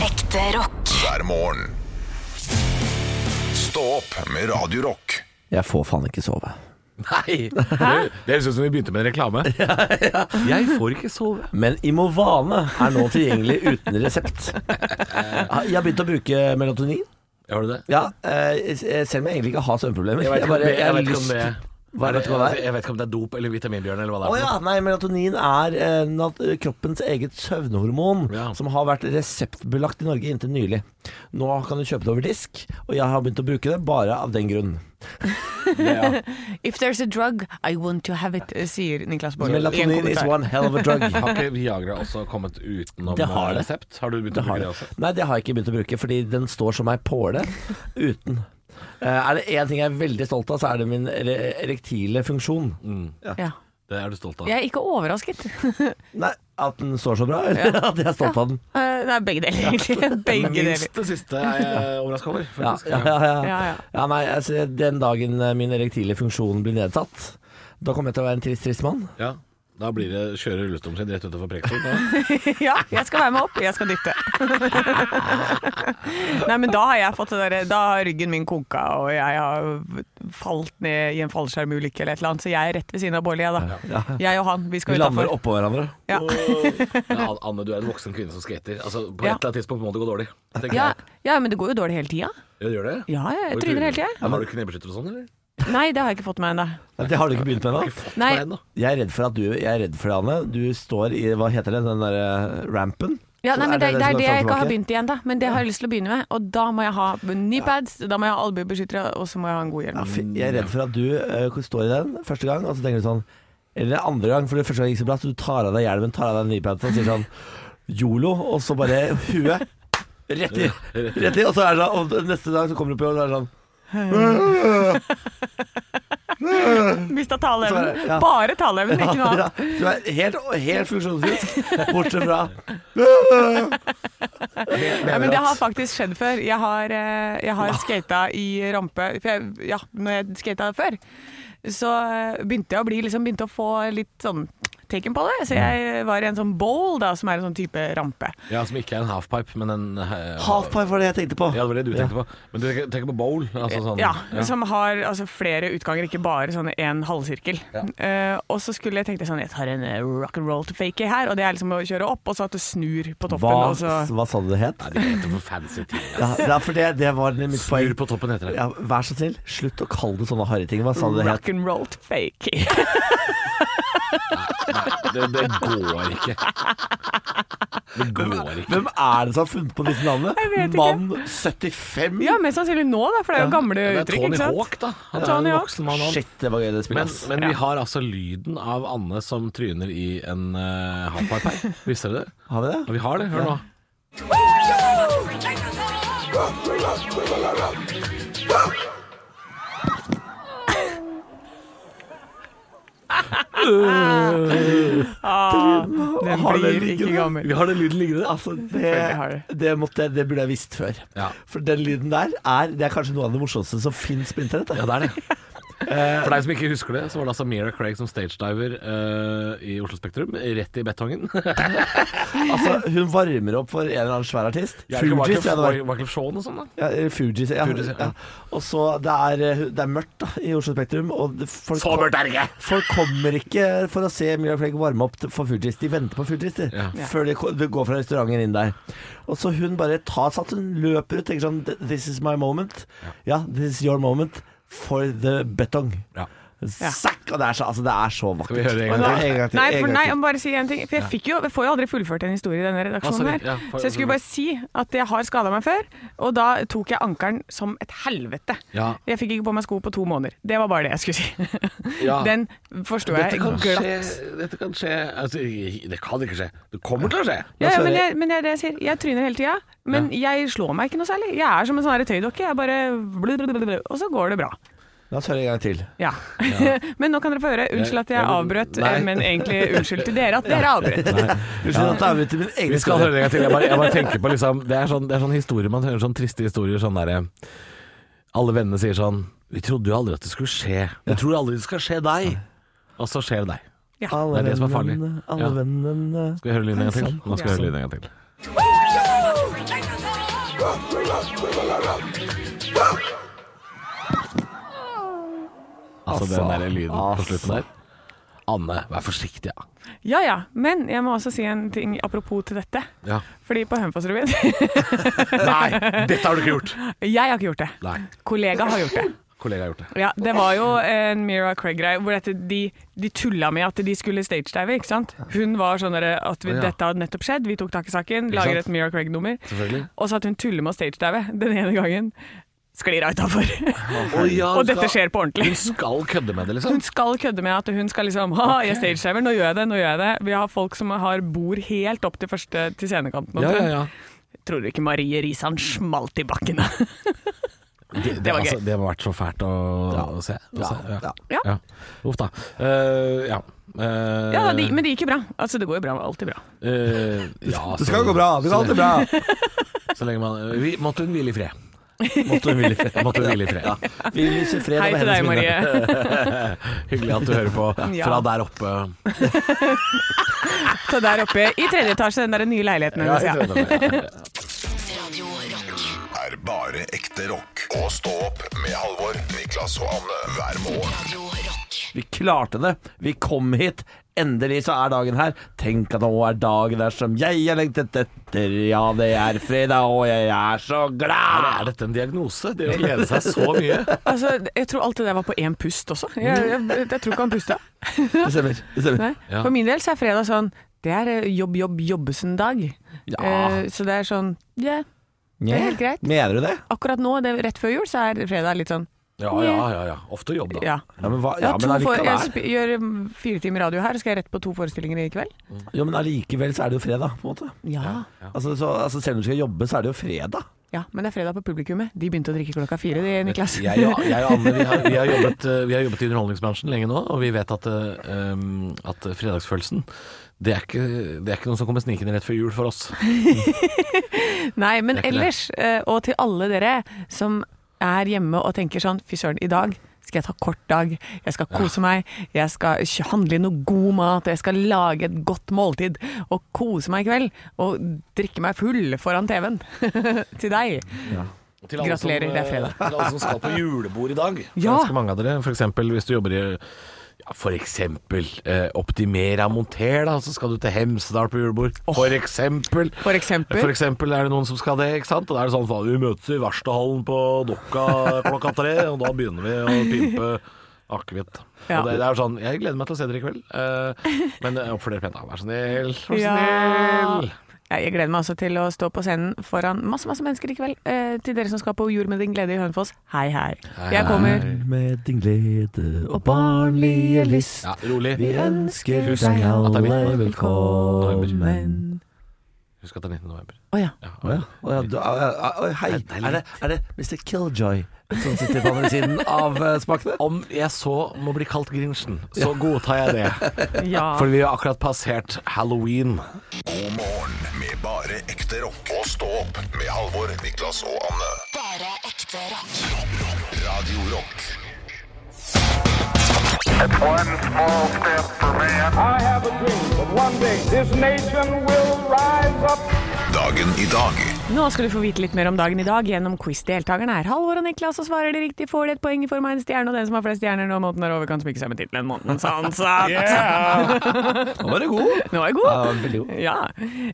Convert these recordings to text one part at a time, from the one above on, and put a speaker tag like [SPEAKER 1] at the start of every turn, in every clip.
[SPEAKER 1] Ekte rock.
[SPEAKER 2] hver morgen. Stå opp med Radio Rock.
[SPEAKER 3] Jeg får faen ikke sove.
[SPEAKER 4] Nei! Det det høres ut som vi begynte med en reklame. Jeg får ikke sove.
[SPEAKER 3] Men Imovane er nå tilgjengelig uten resept. Jeg har begynt å bruke melatonin.
[SPEAKER 4] Gjør du det?
[SPEAKER 3] Ja, eh, selv om jeg egentlig ikke har søvnproblemer.
[SPEAKER 4] Jeg vet ikke om
[SPEAKER 3] bare-
[SPEAKER 4] det- jeg
[SPEAKER 3] har
[SPEAKER 4] vet ikke om
[SPEAKER 3] lyst-
[SPEAKER 4] det-
[SPEAKER 3] Hva, vet du hva det er?
[SPEAKER 4] Jeg vet ikke om det er dop eller vitaminbjørn eller hva
[SPEAKER 3] Å
[SPEAKER 4] det er.
[SPEAKER 3] ja, nei, melatonin er eh, nat kroppens eget søvnhormon,
[SPEAKER 4] Ja.
[SPEAKER 3] som har vært reseptbelagt i Norge inntil nylig. Nå kan du kjøpe det over disk, og jeg har begynt å bruke det bare av den grunn.
[SPEAKER 5] If there's a drug, I want to have it, sier Niklas Baarli. i en
[SPEAKER 3] Melatonin is
[SPEAKER 5] kommentar.
[SPEAKER 3] one hell of a drug.
[SPEAKER 4] Har ikke Viagra også kommet utenom eh,
[SPEAKER 3] Det har det.
[SPEAKER 4] resept? Har du begynt
[SPEAKER 3] Det
[SPEAKER 4] å
[SPEAKER 3] har
[SPEAKER 4] bruke det
[SPEAKER 3] jeg.
[SPEAKER 4] også?
[SPEAKER 3] Nei, det har jeg ikke begynt å bruke, fordi den står som ei påle uten. Eh, er det én ting jeg er veldig stolt av, så er det min ere erektile funksjon.
[SPEAKER 5] Ja.
[SPEAKER 4] Mm. Det er du stolt av.
[SPEAKER 5] Jeg er ikke overrasket.
[SPEAKER 3] Nei, At den står så bra, eller at jeg er stolt av den.
[SPEAKER 5] Eh, Det er begge deler, egentlig. Begge deler.
[SPEAKER 4] Minst det siste er jeg overraska over,
[SPEAKER 3] Ja,
[SPEAKER 4] faktisk.
[SPEAKER 3] ja, ja, ja.
[SPEAKER 5] Ja, ja.
[SPEAKER 3] ja nei, altså, Den dagen eh, min erektile funksjon blir nedsatt, da kommer jeg til å være en trist, trist mann.
[SPEAKER 4] Ja. Da blir det kjøre rullestolen sin rett utenfor Preksol. da.
[SPEAKER 5] Ja, jeg skal være med opp, jeg skal dytte. Nei, men da har jeg fått det derre Da har ryggen min koka, og jeg har falt ned i en fallskjermulykke eller et eller annet, så jeg er rett ved siden av Bårli, jeg, da. Jeg og han, vi
[SPEAKER 3] Vi
[SPEAKER 5] skal
[SPEAKER 3] lander
[SPEAKER 5] utafor.
[SPEAKER 3] oppå hverandre.
[SPEAKER 5] Ja.
[SPEAKER 4] Ja, Anne, du er en voksen kvinne som skater. Altså, På et
[SPEAKER 5] Ja.
[SPEAKER 4] eller annet tidspunkt må det gå dårlig. tenker
[SPEAKER 5] Ja,
[SPEAKER 4] jeg.
[SPEAKER 5] ja, men det går jo dårlig hele tida.
[SPEAKER 4] Ja, det gjør det?
[SPEAKER 5] Ja, jeg
[SPEAKER 4] Hvor
[SPEAKER 5] tryner hele tida.
[SPEAKER 4] Ja, men Har du knebeskytter og sånn, eller?
[SPEAKER 5] Nei, det har jeg ikke fått med ennå.
[SPEAKER 3] Nei, Det har du ikke begynt med
[SPEAKER 4] Ikke
[SPEAKER 3] ennå.
[SPEAKER 4] fått
[SPEAKER 5] Nei.
[SPEAKER 4] meg ennå.
[SPEAKER 3] Jeg er redd for at du Jeg er redd for det, Anne. Du står i Hva heter det? Den derre rampen?
[SPEAKER 5] Ja,
[SPEAKER 3] Så
[SPEAKER 5] nei, men det, det
[SPEAKER 3] som
[SPEAKER 5] er det jeg
[SPEAKER 3] fram
[SPEAKER 5] ikke
[SPEAKER 3] og
[SPEAKER 5] har
[SPEAKER 3] tilbake.
[SPEAKER 5] begynt igjen, da. Men det har jeg lyst til å begynne med. Og da må jeg ha knee pads, da må jeg ha albuebeskyttere, og så må jeg ha en god
[SPEAKER 3] Ja,
[SPEAKER 5] hjelm.
[SPEAKER 3] fy- jeg er redd for at du eh, står i den første gang, og så tenker du sånn Eller andre gang, for det første gang gikk så bra, så du tar av deg hjelmen, tar av deg kneepaden og sier sånn Yolo, og så bare huet rett i. Rett i, og så er det sånn Og neste dag så kommer du på, og så er det sånn
[SPEAKER 5] Mista
[SPEAKER 3] Så er
[SPEAKER 5] taleevnen.
[SPEAKER 3] det- ja.
[SPEAKER 5] Bare taleevnen, ikke noe
[SPEAKER 3] ja,
[SPEAKER 5] annet.
[SPEAKER 3] Du er helt, helt funksjonsfrisk, bortsett fra
[SPEAKER 5] Ja, men det har faktisk skjedd før. Jeg har, eh, jeg har skata i rampe for jeg, Ja, når jeg skata før, så eh, begynte jeg å bli liksom Begynte å få litt sånn taken på
[SPEAKER 3] Mm.
[SPEAKER 5] det. Så jeg var i en sånn bowl, da, som er en sånn type rampe.
[SPEAKER 4] Ja, som ikke er en halfpipe, men en eh,
[SPEAKER 3] Halfpipe var det jeg tenkte på.
[SPEAKER 4] Ja, det var det du tenkte på. Men du tenker, tenker på bowl? Altså sånn
[SPEAKER 5] Eh, ja, som har altså, flere utganger, ikke bare sånn en halvsirkel. Eh, og så skulle jeg tenke sånn, jeg tar en eh, rock and roll to fake her, og det er liksom å kjøre opp, og så at du snur på toppen.
[SPEAKER 3] Hva,
[SPEAKER 5] Og
[SPEAKER 4] altså.
[SPEAKER 5] så,
[SPEAKER 3] hva sa du det het?
[SPEAKER 4] Nei, det heter for fancy ting.
[SPEAKER 3] Ja, ja, for det, det var mitt poeng.
[SPEAKER 4] Snur på toppen heter det.
[SPEAKER 3] Ja, vær så snill, slutt å kalle det sånne harryting. Hva sa du det het?
[SPEAKER 5] rock and roll to fake.
[SPEAKER 4] Det, det går ikke. Det går ikke.
[SPEAKER 3] Hvem er det som har funnet på disse navnene?
[SPEAKER 5] Jeg vet ikke.
[SPEAKER 3] Mann 75?
[SPEAKER 5] ja, mest sannsynlig nå, da, for det er jo gamle
[SPEAKER 4] Det er
[SPEAKER 5] uttrykk.
[SPEAKER 4] Tony
[SPEAKER 5] ikke sant?
[SPEAKER 4] Hawk, da. Han er
[SPEAKER 5] Tony
[SPEAKER 4] en
[SPEAKER 5] Hawk.
[SPEAKER 4] voksen mann. han.
[SPEAKER 3] Shit, det var gøy det spillet.
[SPEAKER 4] Men,
[SPEAKER 3] ass.
[SPEAKER 4] men vi har altså lyden av Anne som tryner i en uh, halfpipe her. Visste dere det?
[SPEAKER 3] Har vi
[SPEAKER 4] Ja,
[SPEAKER 3] det?
[SPEAKER 4] vi har det. Hør nå.
[SPEAKER 5] Den
[SPEAKER 3] Har det
[SPEAKER 5] blir ikke
[SPEAKER 3] liggende?
[SPEAKER 5] gammel.
[SPEAKER 4] Vi har den lyden liggende.
[SPEAKER 3] Altså, det,
[SPEAKER 5] Selvfølgelig har vi
[SPEAKER 3] det, måtte, jeg- det burde jeg visst før.
[SPEAKER 4] Ja.
[SPEAKER 3] For den lyden der er, det er kanskje noe av det morsomste som fins på internett.
[SPEAKER 4] Ja,
[SPEAKER 3] da.
[SPEAKER 4] det er det. For deg som ikke husker det, så var det altså Mira Craig som stagediver eh, i Oslo Spektrum, rett i betongen.
[SPEAKER 3] Altså, hun varmer opp for en eller annen svær artist. Fugees, ja, det var.
[SPEAKER 4] Wyclef Shawn og sånn, da.
[SPEAKER 3] Ja, eh, Fugees, ja.
[SPEAKER 4] Fugees, ja.
[SPEAKER 3] ja. Og så det er, eh, det er mørkt da, i Oslo Spektrum. Og det- folk,
[SPEAKER 4] Så mørkt er det ikke!
[SPEAKER 3] folk kommer ikke for å se Mira Flake varme opp for Fugees. De venter på Fugees de,
[SPEAKER 4] Ja.
[SPEAKER 3] før de, ko- de går fra restauranten inn der. Og så hun bare tar sats, hun løper ut tenker sånn This is my moment. Ja, this is your moment for the betong.
[SPEAKER 4] Ja.
[SPEAKER 3] Zakk! Og det er så, altså, det er så vakkert.
[SPEAKER 4] Skal vi høre det en gang
[SPEAKER 3] Ja,
[SPEAKER 4] til?
[SPEAKER 3] en gang til?
[SPEAKER 5] Nei,
[SPEAKER 3] en
[SPEAKER 5] for
[SPEAKER 3] gang
[SPEAKER 5] nei,
[SPEAKER 3] til.
[SPEAKER 5] jeg må bare si en ting. For jeg, fikk jo, jeg får jo aldri fullført en historie i denne redaksjonen
[SPEAKER 4] Ah, sorry.
[SPEAKER 5] her.
[SPEAKER 4] Ja, for-
[SPEAKER 5] så jeg skulle bare si at jeg har skada meg før, og da tok jeg ankelen som et helvete.
[SPEAKER 4] Ja.
[SPEAKER 5] Jeg fikk ikke på meg sko på to måneder. Det var bare det jeg skulle si.
[SPEAKER 4] Ja.
[SPEAKER 5] Den forsto
[SPEAKER 4] Dette
[SPEAKER 5] jeg
[SPEAKER 4] kan
[SPEAKER 5] glatt.
[SPEAKER 4] skje, dette kan skje altså, Det kan ikke skje. Det kommer til å skje.
[SPEAKER 5] Ja, ja,
[SPEAKER 3] Sverre-
[SPEAKER 5] men Altså, jeg, men det er det jeg sier. Jeg tryner hele tida, men jeg slår meg ikke noe særlig. Jeg er som en sånn her tøydokke. Jeg bare blablabla, Og så går det bra.
[SPEAKER 3] La oss høre en gang til.
[SPEAKER 5] Ja. men nå kan dere få høre. Unnskyld at jeg
[SPEAKER 4] Ja, men-
[SPEAKER 5] avbrøt, eh,
[SPEAKER 4] nei.
[SPEAKER 5] men egentlig unnskyld til dere at dere avbrøt.
[SPEAKER 3] Unnskyld at jeg avbryter min egen
[SPEAKER 4] Vi skal
[SPEAKER 3] historie.
[SPEAKER 4] høre det en gang til. Jeg bare, jeg bare tenker på liksom Det er sånn, det er sånn historier man hører, sånn triste historier. Sånn derre Alle vennene sier sånn Vi trodde jo aldri at det skulle skje. Vi tror aldri det skal skje deg. Og så skjer det deg.
[SPEAKER 3] Alle
[SPEAKER 4] Det er det som er farlig.
[SPEAKER 3] vennene, alle
[SPEAKER 4] Ja.
[SPEAKER 3] vennene
[SPEAKER 4] sånn. Skal vi høre lyden en gang til? Nå skal vi høre lyden en gang til.
[SPEAKER 6] Woo!
[SPEAKER 4] Altså, den der lyden på
[SPEAKER 3] Altså.
[SPEAKER 4] slutten der. Anne, vær forsiktig, ja.
[SPEAKER 5] Ja ja, men jeg må også si en ting apropos til dette.
[SPEAKER 4] ja.
[SPEAKER 5] Fordi på Hønefoss-revyen
[SPEAKER 4] Nei, dette har du ikke gjort!
[SPEAKER 5] Jeg har ikke gjort det.
[SPEAKER 4] Nei,
[SPEAKER 5] Kollega har gjort det.
[SPEAKER 4] kollega har gjort det.
[SPEAKER 5] Ja, Det var jo en Mira Craig-greie hvor dette, de, de tulla med at de skulle stagedive. ikke sant? Hun var sånn derre at vi,
[SPEAKER 4] Å, ja.
[SPEAKER 5] dette hadde nettopp skjedd, vi tok tak i saken, lager
[SPEAKER 4] sant?
[SPEAKER 5] et Mira Craig-nummer.
[SPEAKER 4] Selvfølgelig.
[SPEAKER 5] Og så at hun tuller med å stagedive den ene gangen. Sklir av utafor. Og dette skjer på ordentlig.
[SPEAKER 4] Hun skal kødde med det, liksom.
[SPEAKER 5] Hun skal kødde med at hun skal liksom Ha, jeg stagediver, nå gjør jeg det, nå gjør jeg det. Vi har folk som har bord helt opp til første til
[SPEAKER 4] Ja,
[SPEAKER 5] scenekanten.
[SPEAKER 4] ja,
[SPEAKER 5] omtrent.
[SPEAKER 4] ja.
[SPEAKER 5] Tror du ikke Marie Risan smalt i bakken?
[SPEAKER 4] Det, det,
[SPEAKER 5] var
[SPEAKER 4] altså,
[SPEAKER 5] gøy.
[SPEAKER 4] det må ha vært så fælt å, å se. Å se,
[SPEAKER 3] ja.
[SPEAKER 5] Ja.
[SPEAKER 4] ja. Uff da. Eh, ja. Eh,
[SPEAKER 5] Ja, de, men det gikk jo bra. Altså, det går jo bra. Alltid bra.
[SPEAKER 4] eh, ja,
[SPEAKER 3] Det
[SPEAKER 4] så-
[SPEAKER 3] skal gå bra. Det går
[SPEAKER 4] så
[SPEAKER 3] alltid
[SPEAKER 4] lenge-
[SPEAKER 3] bra.
[SPEAKER 4] Så lenge man vi, Måtte hun hvile i fred.
[SPEAKER 3] Måtte hun hvile i fred.
[SPEAKER 4] Måtte hun hvile i fred.
[SPEAKER 3] Vi lyser fred
[SPEAKER 5] Hei
[SPEAKER 3] over
[SPEAKER 5] til
[SPEAKER 3] hennes
[SPEAKER 5] deg,
[SPEAKER 3] minne.
[SPEAKER 5] Marie.
[SPEAKER 4] Hyggelig at du hører på
[SPEAKER 5] Ja.
[SPEAKER 4] fra der oppe.
[SPEAKER 5] Så der oppe i tredje etasje, den der nye leiligheten hennes. Ja,
[SPEAKER 1] Radio Rock.
[SPEAKER 2] er bare ekte rock. Og stå opp med Halvor, Niklas og Anne hver morgen.
[SPEAKER 1] Radio Rock.
[SPEAKER 3] Vi klarte det. Vi kom hit. Endelig så er dagen her. Tenk at nå er dagen der som jeg har lengtet etter. Ja, det er fredag, og jeg er så
[SPEAKER 4] Er
[SPEAKER 3] glad.
[SPEAKER 4] dette en diagnose? Det å glede seg så mye.
[SPEAKER 5] Altså, jeg tror alt det der var på én pust også. Jeg, jeg, jeg tror ikke han pusta.
[SPEAKER 3] Det stemmer. Det stemmer.
[SPEAKER 5] Nei.
[SPEAKER 4] Ja.
[SPEAKER 5] For min del så er fredag sånn Det er eh, jobb, jobb, jobbesen-dag.
[SPEAKER 3] Ja.
[SPEAKER 5] Eh, så det er sånn Ja, det er helt greit.
[SPEAKER 3] Mener du det?
[SPEAKER 5] Akkurat nå, det, er rett før jul, så er fredag litt sånn
[SPEAKER 4] Ja, ja, ja. ja. Ofte jobb, da.
[SPEAKER 5] Ja.
[SPEAKER 3] Ja, men, hva,
[SPEAKER 5] Jeg,
[SPEAKER 3] ja,
[SPEAKER 5] har
[SPEAKER 3] men
[SPEAKER 5] to for, jeg
[SPEAKER 3] allikevel,
[SPEAKER 5] sp gjør mm, fire timer radio her, og skal jeg rett på to forestillinger i kveld?
[SPEAKER 3] jo, men allikevel så er det jo fredag, på en måte.
[SPEAKER 5] Ja.
[SPEAKER 3] Altså, så, altså selv om du skal jobbe, så er det jo fredag.
[SPEAKER 5] ja. Men det er fredag på publikummet. De begynte å drikke klokka fire, de, Niklas.
[SPEAKER 4] Jeg, og- jeg og Anne vi har, vi, har jobbet, eh, vi har jobbet i underholdningsbransjen lenge nå, og vi vet at, eh, um, at fredagsfølelsen det er, ikke, det er ikke noe som kommer snikende rett før jul for oss.
[SPEAKER 5] Nei, men
[SPEAKER 4] Det er ikke det.
[SPEAKER 5] ellers, eh, og til alle dere som er hjemme og tenker sånn Fy søren, i dag skal jeg ta kort dag. Jeg skal kose meg. Jeg skal kj- handle inn noe god mat. Jeg skal lage et godt måltid og kose meg i kveld. Og drikke meg full foran TV-en. til deg.
[SPEAKER 4] Til alle som,
[SPEAKER 5] Gratulerer, det er
[SPEAKER 4] eh,
[SPEAKER 5] fredag.
[SPEAKER 4] Til alle som skal på julebord i dag.
[SPEAKER 5] Ja.
[SPEAKER 4] Ganske mange av dere. For eksempel hvis du jobber i ja, for eksempel eh, Optimera Monter, da, så skal du til Hemsedal på julebord. For eksempel.
[SPEAKER 5] For eksempel.
[SPEAKER 4] For eksempel er det noen som skal det, ikke sant? Og da er det sånn faen, vi møtes i verkstedhallen på Dokka klokka tre, og da begynner vi å pimpe akevitt.
[SPEAKER 5] Ja.
[SPEAKER 4] Og det, det er jo sånn, Jeg gleder meg til å se dere i kveld, eh, men eh, oppfør dere pent, da. Vær så snill. Vær så
[SPEAKER 5] Ja.
[SPEAKER 4] snill.
[SPEAKER 5] Ja, Jeg gleder meg også til å stå på scenen foran masse masse mennesker i kveld. Eh, til dere som skal på Jord med din glede i Hønefoss, hei, hei. Jeg kommer.
[SPEAKER 3] Med din glede og barnlige lyst.
[SPEAKER 4] Ja, rolig.
[SPEAKER 3] Vi ønsker
[SPEAKER 4] Husk
[SPEAKER 3] deg
[SPEAKER 4] at det er
[SPEAKER 3] alle
[SPEAKER 4] mitt.
[SPEAKER 3] velkommen.
[SPEAKER 4] Husk at det er 19. november.
[SPEAKER 5] Å ja.
[SPEAKER 4] Ja,
[SPEAKER 3] Å ja. Å ja, du- å ja, å ja, hei,
[SPEAKER 4] Det er deilig.
[SPEAKER 3] er det, er det Mr. Killjoy som sitter på andre siden av eh, spakene?
[SPEAKER 4] Om jeg så må bli kalt Grinchen, så godtar jeg det.
[SPEAKER 5] ja.
[SPEAKER 4] For vi har akkurat passert halloween.
[SPEAKER 2] God morgen med bare ekte rock. Og stå opp med Halvor, Niklas og Anne.
[SPEAKER 1] Bare ekte rock.
[SPEAKER 2] Radio Rock
[SPEAKER 6] One small step for man.
[SPEAKER 7] I have a dream that one day this nation will rise up.
[SPEAKER 2] Dagen i dag
[SPEAKER 5] Nå skal du få vite litt mer om dagen i dag gjennom quiz-deltakerne er Halvor og Niklas, og svarer de riktig får de et poeng i form av en stjerne, og den som har flest stjerner når måneden er over, kan smykke seg med tittelen 'Månedens ansatt'.
[SPEAKER 3] Nå var du god.
[SPEAKER 5] Nå er jeg
[SPEAKER 3] Ja,
[SPEAKER 5] god!
[SPEAKER 3] veldig god.
[SPEAKER 5] Ja.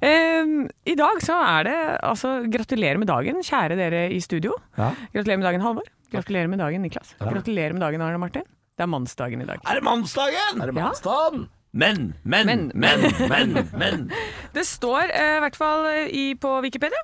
[SPEAKER 5] Em, I dag så er det altså Gratulerer med dagen, kjære dere i studio.
[SPEAKER 3] Ja.
[SPEAKER 5] Gratulerer med dagen, Halvor. Gratulerer med dagen, Niklas. Gratulerer med dagen, Arne Martin. Det er mannsdagen i dag.
[SPEAKER 3] Er det mannsdagen? Er det
[SPEAKER 5] Ja.
[SPEAKER 3] mannsdagen? Men, men, men,
[SPEAKER 5] Men,
[SPEAKER 3] men, men. men.
[SPEAKER 5] Det står eh, i hvert fall i, på Wikipedia.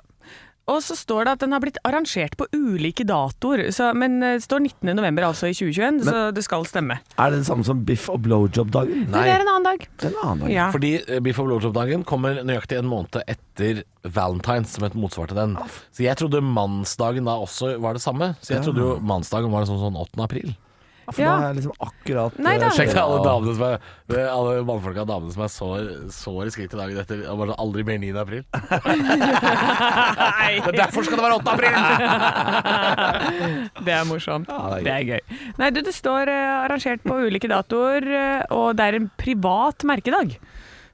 [SPEAKER 5] Og så står det at den har blitt arrangert på ulike datoer. Så, men eh, det står 19. november altså i 2021, så det skal stemme.
[SPEAKER 3] Er det den samme som biff og blowjob-dagen?
[SPEAKER 5] Men det er en annen dag.
[SPEAKER 3] Det er en annen dag.
[SPEAKER 5] Ja.
[SPEAKER 4] Fordi eh, Biff og blowjob-dagen kommer nøyaktig en måned etter Valentine's, som et motsvar til den. Så jeg trodde mannsdagen da også var det samme. Så jeg trodde jo mannsdagen var liksom sånn 8. april.
[SPEAKER 3] For
[SPEAKER 5] Ja.
[SPEAKER 3] da er jeg liksom akkurat
[SPEAKER 5] Nei da.
[SPEAKER 3] eh,
[SPEAKER 4] Sjekk til alle damene som er det er Alle mannfolka og damene som er sår, sår i skrittet dagen etter. Og bare sånn, aldri mer 9. april.
[SPEAKER 5] Nei,
[SPEAKER 4] Men derfor skal det være 8. april!
[SPEAKER 5] det er morsomt.
[SPEAKER 3] Ja,
[SPEAKER 5] det,
[SPEAKER 3] det
[SPEAKER 5] er gøy. Nei, du, det står eh, arrangert på ulike datoer, eh, og det er en privat merkedag.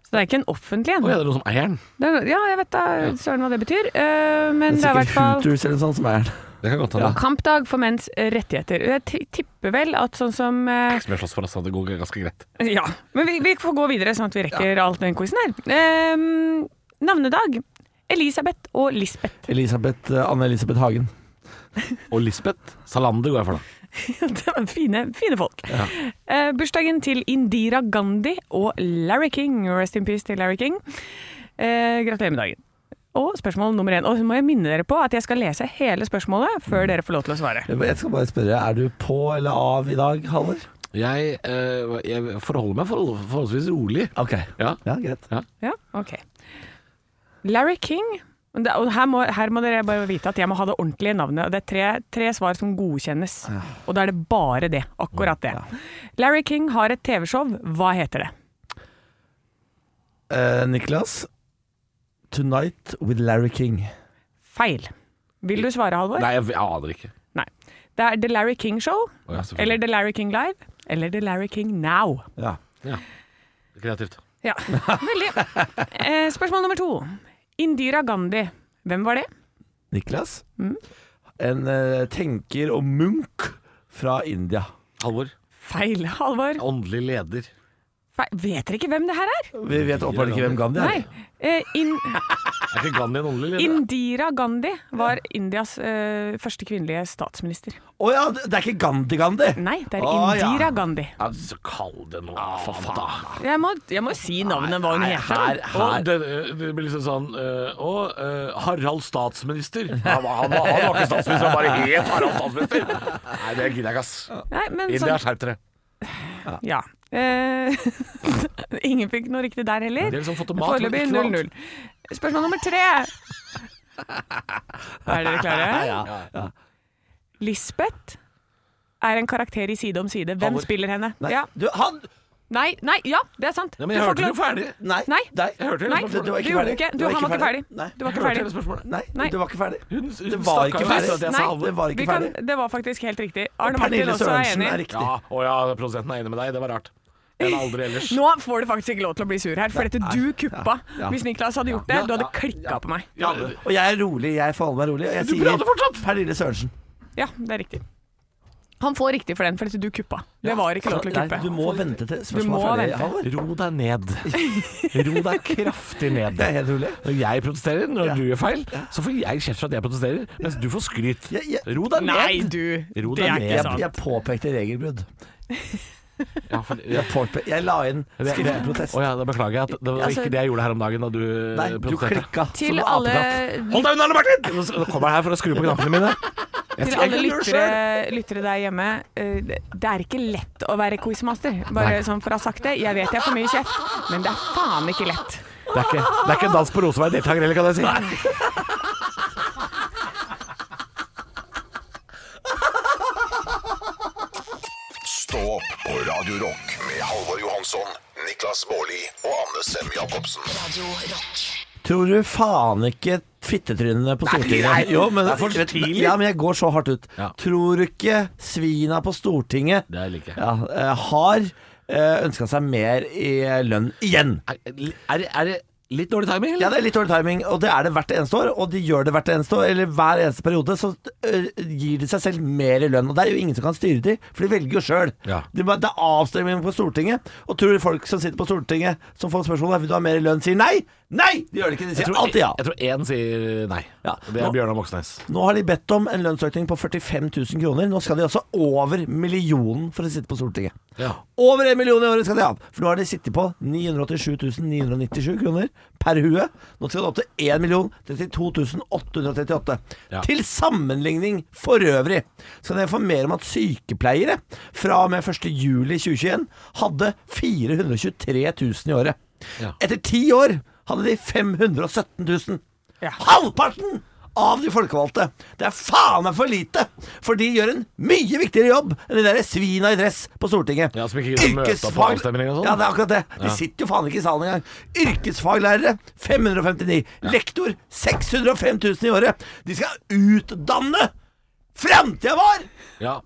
[SPEAKER 5] Så det er ikke en offentlig en.
[SPEAKER 4] Å, ja, det er noen som eier den.
[SPEAKER 5] Det er- Ja, jeg vet da søren hva det betyr. eh, Men det
[SPEAKER 3] Det
[SPEAKER 5] er i
[SPEAKER 3] er
[SPEAKER 5] hvert
[SPEAKER 3] sikkert
[SPEAKER 5] fall
[SPEAKER 3] Hooters eller noe sånt som er den.
[SPEAKER 4] Det kan godt hende.
[SPEAKER 5] kampdag for menns eh, rettigheter. Jeg ti- tipper vel at sånn som eh,
[SPEAKER 4] Som jeg slåss for, altså. Det går ganske greit.
[SPEAKER 5] Ja. Men vi, vi får gå videre, sånn at vi rekker alt den quizen her. Eh, navnedag. Elisabeth og Lisbeth.
[SPEAKER 3] Elisabeth, eh, Anne-Elisabeth Hagen.
[SPEAKER 4] Og Lisbeth Salander går jeg for, da.
[SPEAKER 5] det var fine, fine folk. Eh, bursdagen til Indira Gandhi og Larry King. Rest in peace til Larry King. Eh, gratulerer med dagen. Og spørsmål nummer én. Og så må jeg minne dere på at jeg skal lese hele spørsmålet før dere får lov til å svare.
[SPEAKER 3] Jeg skal bare spørre, er du på eller av i dag, Haller?
[SPEAKER 4] Jeg, eh, jeg forholder meg forhold, forholdsvis rolig.
[SPEAKER 3] Ok.
[SPEAKER 4] Ja.
[SPEAKER 3] Ja, greit.
[SPEAKER 5] Ja, ok. Larry King og det- og her må, her må dere bare vite at jeg må ha det ordentlige navnet. og Det er tre, tre svar som godkjennes. Og da er det bare det. Akkurat det. Larry King har et TV-show. Hva heter det?
[SPEAKER 3] Eh, Niklas, Tonight with Larry King.
[SPEAKER 5] Feil. Vil du svare, Halvor?
[SPEAKER 4] Nei, jeg, jeg aner ikke.
[SPEAKER 5] Nei. Det er The Larry King Show,
[SPEAKER 4] Å, ja, selvfølgelig.
[SPEAKER 5] eller The Larry King Live, eller The Larry King Now.
[SPEAKER 3] Ja.
[SPEAKER 4] Kreativt.
[SPEAKER 5] Ja, veldig. Eh, spørsmål nummer to. Indira Gandhi. Hvem var det?
[SPEAKER 3] Niklas,
[SPEAKER 5] Mm.
[SPEAKER 3] en eh, tenker og munk fra India.
[SPEAKER 4] Halvor.
[SPEAKER 5] Feil, Halvor.
[SPEAKER 4] Åndelig leder.
[SPEAKER 5] Feil. Vet dere ikke hvem det her er?
[SPEAKER 3] Vi vet åpenbart ikke hvem Gandhi er.
[SPEAKER 5] Nei. Eh, in
[SPEAKER 4] Er ikke Gandhi en åndelig leder?
[SPEAKER 5] Indira Gandhi var Indias eh, første kvinnelige statsminister.
[SPEAKER 3] Å ja, det det er ikke Gandhi-Gandhi!
[SPEAKER 5] Nei, det er
[SPEAKER 3] Å, ja.
[SPEAKER 5] Indira Gandhi.
[SPEAKER 4] Ja, så kall det noe, for Ah, faen. da.
[SPEAKER 5] Jeg må, jeg må si navnet hva hun
[SPEAKER 4] Nei,
[SPEAKER 5] heter.
[SPEAKER 4] her, her. Det, det blir liksom sånn øh, Å, øh, Harald statsminister. Han, var- han, var- han var ikke statsminister, han bare het Harald statsminister. Nei, det gidder jeg ikke, ass.
[SPEAKER 5] Nei, men
[SPEAKER 4] India, altså.
[SPEAKER 5] sånn,
[SPEAKER 4] skjerp dere.
[SPEAKER 5] ja. Eh, ingen fikk noe riktig der heller.
[SPEAKER 4] De har liksom fått mat, men
[SPEAKER 5] Foreløpig
[SPEAKER 4] ikke noe annet.
[SPEAKER 5] 0-0. Spørsmål nummer tre. Er dere klare? Lisbeth er en karakter i Side om side. Hvem
[SPEAKER 4] Halvor.
[SPEAKER 5] spiller henne?
[SPEAKER 3] Nei,
[SPEAKER 5] Ja.
[SPEAKER 3] Du, han
[SPEAKER 5] Nei, nei, ja, det er sant.
[SPEAKER 4] Ja, men jeg
[SPEAKER 5] Du får
[SPEAKER 4] hørte
[SPEAKER 5] ikke
[SPEAKER 4] det jo
[SPEAKER 5] lov-
[SPEAKER 4] ferdig.
[SPEAKER 3] Nei.
[SPEAKER 5] Nei,
[SPEAKER 4] Jeg hørte det.
[SPEAKER 5] Nei,
[SPEAKER 3] Du, du var ikke
[SPEAKER 5] du gjorde
[SPEAKER 3] ferdig.
[SPEAKER 5] ikke- du- han var ikke ferdig.
[SPEAKER 3] Nei.
[SPEAKER 5] Du
[SPEAKER 4] Jeg
[SPEAKER 5] var ikke
[SPEAKER 4] hørte
[SPEAKER 5] ferdig.
[SPEAKER 4] hele spørsmålet.
[SPEAKER 3] Nei,
[SPEAKER 5] Nei.
[SPEAKER 3] du var ikke ferdig.
[SPEAKER 4] Hun, hun
[SPEAKER 3] Det var ikke
[SPEAKER 4] stakkaren
[SPEAKER 3] ferdig.
[SPEAKER 4] visste at jeg sa
[SPEAKER 5] Nei.
[SPEAKER 4] Halvor.
[SPEAKER 3] Det var
[SPEAKER 5] Vi
[SPEAKER 3] ikke
[SPEAKER 5] kan,
[SPEAKER 3] ferdig.
[SPEAKER 5] det var faktisk helt riktig. Arne Martin
[SPEAKER 3] Pernille
[SPEAKER 5] også er
[SPEAKER 3] Sørensen er
[SPEAKER 5] enig.
[SPEAKER 3] riktig.
[SPEAKER 4] Ja, å ja, produsenten er enig med deg. Det var rart. Men aldri ellers.
[SPEAKER 5] Nå får du faktisk ikke lov til å bli sur her, for dette du kuppa. Hvis Niklas hadde gjort det, du hadde klikka på meg.
[SPEAKER 4] Ja,
[SPEAKER 3] Og jeg er rolig. Jeg forholder meg rolig. Og jeg
[SPEAKER 4] Du prater fortsatt!
[SPEAKER 3] Pernille Sørensen.
[SPEAKER 5] Ja, det er riktig. Han får riktig for den, for dette du kuppa. Det var ikke lov til å
[SPEAKER 3] Nei,
[SPEAKER 5] kuppe.
[SPEAKER 3] du må vente til
[SPEAKER 5] Du må
[SPEAKER 3] spørsmålet er ferdig.
[SPEAKER 5] vente.
[SPEAKER 3] Halvor.
[SPEAKER 4] Ro deg ned. Ro deg kraftig ned.
[SPEAKER 3] Det er helt rolig.
[SPEAKER 4] Når jeg protesterer, når du gjør feil, så får jeg kjeft for at jeg protesterer, mens du får skryt.
[SPEAKER 3] Jeg, jeg,
[SPEAKER 4] Ro deg ned.
[SPEAKER 5] Nei, du.
[SPEAKER 4] Ro deg
[SPEAKER 5] Det er
[SPEAKER 4] ned.
[SPEAKER 5] ikke
[SPEAKER 3] jeg,
[SPEAKER 5] sant.
[SPEAKER 3] jeg påpekte regelbrudd.
[SPEAKER 4] Ja, for, ja.
[SPEAKER 3] Jeg, påpe, jeg la inn
[SPEAKER 4] Det- det-
[SPEAKER 3] skriftlig protest.
[SPEAKER 4] Å ja, da beklager jeg. at Det var
[SPEAKER 5] Altså-
[SPEAKER 4] ikke det jeg gjorde her om dagen da du
[SPEAKER 3] Nei,
[SPEAKER 4] eh,
[SPEAKER 3] du
[SPEAKER 4] protesterte.
[SPEAKER 3] klikka
[SPEAKER 5] Til
[SPEAKER 3] som en
[SPEAKER 5] alle,
[SPEAKER 3] apekatt.
[SPEAKER 4] Hold deg unna, Arne Martin! Nå s- Nå kommer jeg her for å skru på knappene mine. Jeg skal-
[SPEAKER 5] til
[SPEAKER 4] jeg
[SPEAKER 5] alle
[SPEAKER 4] kan gjøre det
[SPEAKER 5] lyttere, lyttere der hjemme. eh, Det det er ikke lett å være quizmaster, bare sånn for å ha sagt det. Jeg vet jeg får mye kjeft, men det er faen ikke lett.
[SPEAKER 4] selv. Det er ikke, det er ikke en dans på Rosenberg deltaker heller, kan jeg si.
[SPEAKER 2] Stå opp på Radio Rock med Halvor Johansson, Niklas Baarli og Anne Sem Jacobsen.
[SPEAKER 1] Radio Rock.
[SPEAKER 3] Tror du faen ikke fittetrynene på Stortinget
[SPEAKER 4] nei,
[SPEAKER 3] Jo, men,
[SPEAKER 4] det er for tidlig.
[SPEAKER 3] Ja, men jeg går så hardt ut.
[SPEAKER 4] Ja.
[SPEAKER 3] Tror du ikke svina på Stortinget
[SPEAKER 4] Det er like.
[SPEAKER 3] ja, eh, har uh, ønska seg mer i lønn igjen?
[SPEAKER 4] Er, er, det- er det litt dårlig
[SPEAKER 3] Ja,
[SPEAKER 4] timing, eller?
[SPEAKER 3] det er litt dårlig timing, og det er det hvert eneste år. Og de gjør det hvert eneste år, eller hver eneste periode, så øh, gir de seg selv mer i lønn. Og det er jo ingen som kan styre de, for de velger jo sjøl.
[SPEAKER 4] Ja.
[SPEAKER 3] Det er det er avstemning på Stortinget, og tror du folk som sitter på Stortinget som får spørsmål om vil du ha mer i lønn, sier nei? Nei! De gjør det ikke, de sier alltid ja.
[SPEAKER 4] Jeg tror én sier nei.
[SPEAKER 3] Ja.
[SPEAKER 4] Det er
[SPEAKER 3] Nå-
[SPEAKER 4] Bjørnar Moxnes.
[SPEAKER 3] Nå har de bedt om en lønnsøkning på 45 000 kroner. Nå skal de altså over millionen for å sitte på Stortinget.
[SPEAKER 4] Ja.
[SPEAKER 3] Over en million i året skal de ha! For nå har de sittet på 987 997 kroner per hue. Nå skal det opp til 1 million 32 838.
[SPEAKER 4] Ja.
[SPEAKER 3] Til sammenligning for øvrig skal jeg informere om at sykepleiere fra og med 1.7.2021 hadde 423 000 i året.
[SPEAKER 4] Ja.
[SPEAKER 3] Etter ti år hadde de 517 000. Halvparten av de folkevalgte. Det er faen meg for lite! For de gjør en mye viktigere jobb enn de der svina i dress på Stortinget.
[SPEAKER 4] Ja, som ikke gidder å møte opp på
[SPEAKER 3] Yrkesfag-
[SPEAKER 4] avstemning og sånn.
[SPEAKER 3] Ja, det er akkurat det. De sitter jo faen ikke i salen engang. Yrkesfaglærere 559. Lektor 605 000 i året. De skal utdanne framtida vår!
[SPEAKER 4] Ja.